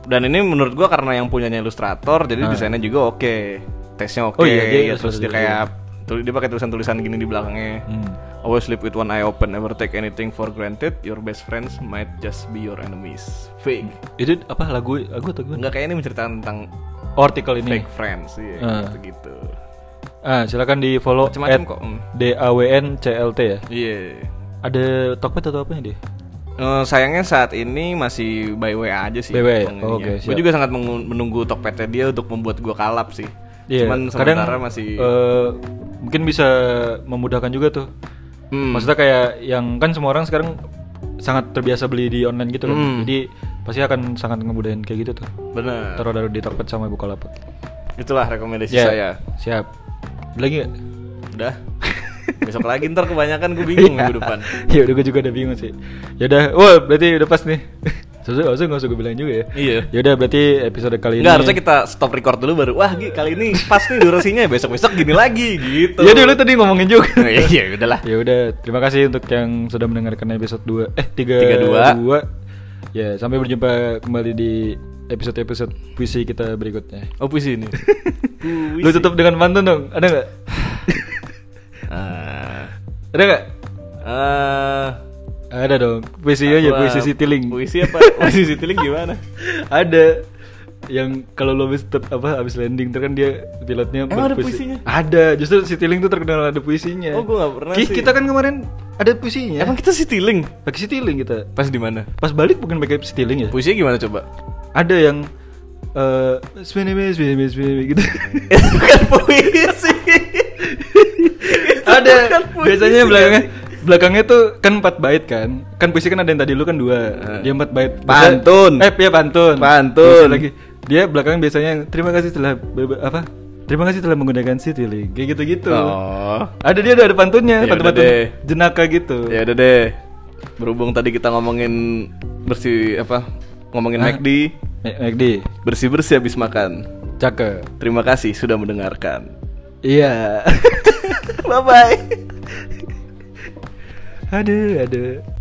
Dan ini menurut gua karena yang punyanya ilustrator, jadi desainnya juga oke. Tesnya oke. Nah. Oh iya, dia ya, terus ilustrator dia kayak tul- dia pakai tulisan-tulisan gini di belakangnya. Hmm. Always sleep with one eye open, never take anything for granted. Your best friends might just be your enemies. Fake. Itu apa lagu lagu atau gimana? Enggak kayak ini menceritakan tentang Oh, artikel ini. fake friends iya Ah. gitu Ah, silakan di follow Macam-macam kok, mm. DAWNCLT ya. iya Ada Tokped atau apanya deh? Eh, sayangnya saat ini masih by WA aja sih. By WA, Bang, oh, ininya. oke, Gue siap. juga sangat mengu- menunggu Tokpetnya dia untuk membuat gue kalap sih. Iya, Cuman kadang sementara masih. eh, mungkin bisa memudahkan juga tuh. Hmm. Maksudnya kayak yang kan semua orang sekarang sangat terbiasa beli di online gitu kan. Hmm. Nah. Jadi pasti akan sangat ngemudahin kayak gitu tuh. bener. Taruh dari di Tokped sama Bukalapak. Itulah rekomendasi Ya, saya. Siap. Ada Lagi nggak? Udah. Besok lagi ntar kebanyakan gue bingung minggu depan. ya udah gue juga udah bingung sih. Ya udah, wah berarti udah pas nih. Susah, susah nggak usah gue bilang juga ya. Iya. Ya udah berarti episode kali Enggak ini. harusnya kita stop record dulu baru. Wah, Gi, kali ini pas nih durasinya besok-besok gini lagi gitu. Ya dulu tadi ngomongin juga. Nah, iya, iya, udahlah. ya udah, terima kasih untuk yang sudah mendengarkan episode 2 eh 32. 32. dua Ya, sampai berjumpa kembali di episode-episode puisi kita berikutnya. Oh, puisi ini. Lu tutup dengan pantun dong. Ada nggak? Eh, Ada nggak? Ah. eh, Ada dong. Puisi ya Apa- puisi Citylink. Puisi apa? Puisi Citylink gimana? ada yang kalau lo habis ter- apa habis landing terus kan dia pilotnya Emang ada berpuisi. puisinya? Ada. Justru Citylink tuh terkenal ada puisinya. Oh, gua nggak pernah Ki- sih. Kita kan kemarin ada puisinya. Emang kita Citylink? pakai Citylink kita. Pas di mana? Pas balik bukan pakai Citylink ya? Puisinya gimana coba? Ada yang eh spinimi spinimi spinimi gitu. Bukan puisi. ada. puisi Biasanya kan? belakangnya belakangnya tuh kan 4 bait kan. Kan puisi kan ada yang tadi lu kan dua. Dia 4 bait. Biasanya- Pantun. Eh, iya pantun. Puisi Pantun. lagi. Dia belakang biasanya yang, terima kasih telah ber- ber- apa? Terima kasih telah menggunakan Citylink. Kayak gitu-gitu. Oh. Ada dia Iya, ada pantunnya, Ya pantun-pantun udah deh. jenaka gitu. Ya udah deh. Berhubung tadi kita ngomongin bersih apa? Ngomongin Hah? McD, Ma- McD, bersih-bersih habis makan. cakep. Terima kasih sudah mendengarkan. Iya. Bye bye. aduh, aduh.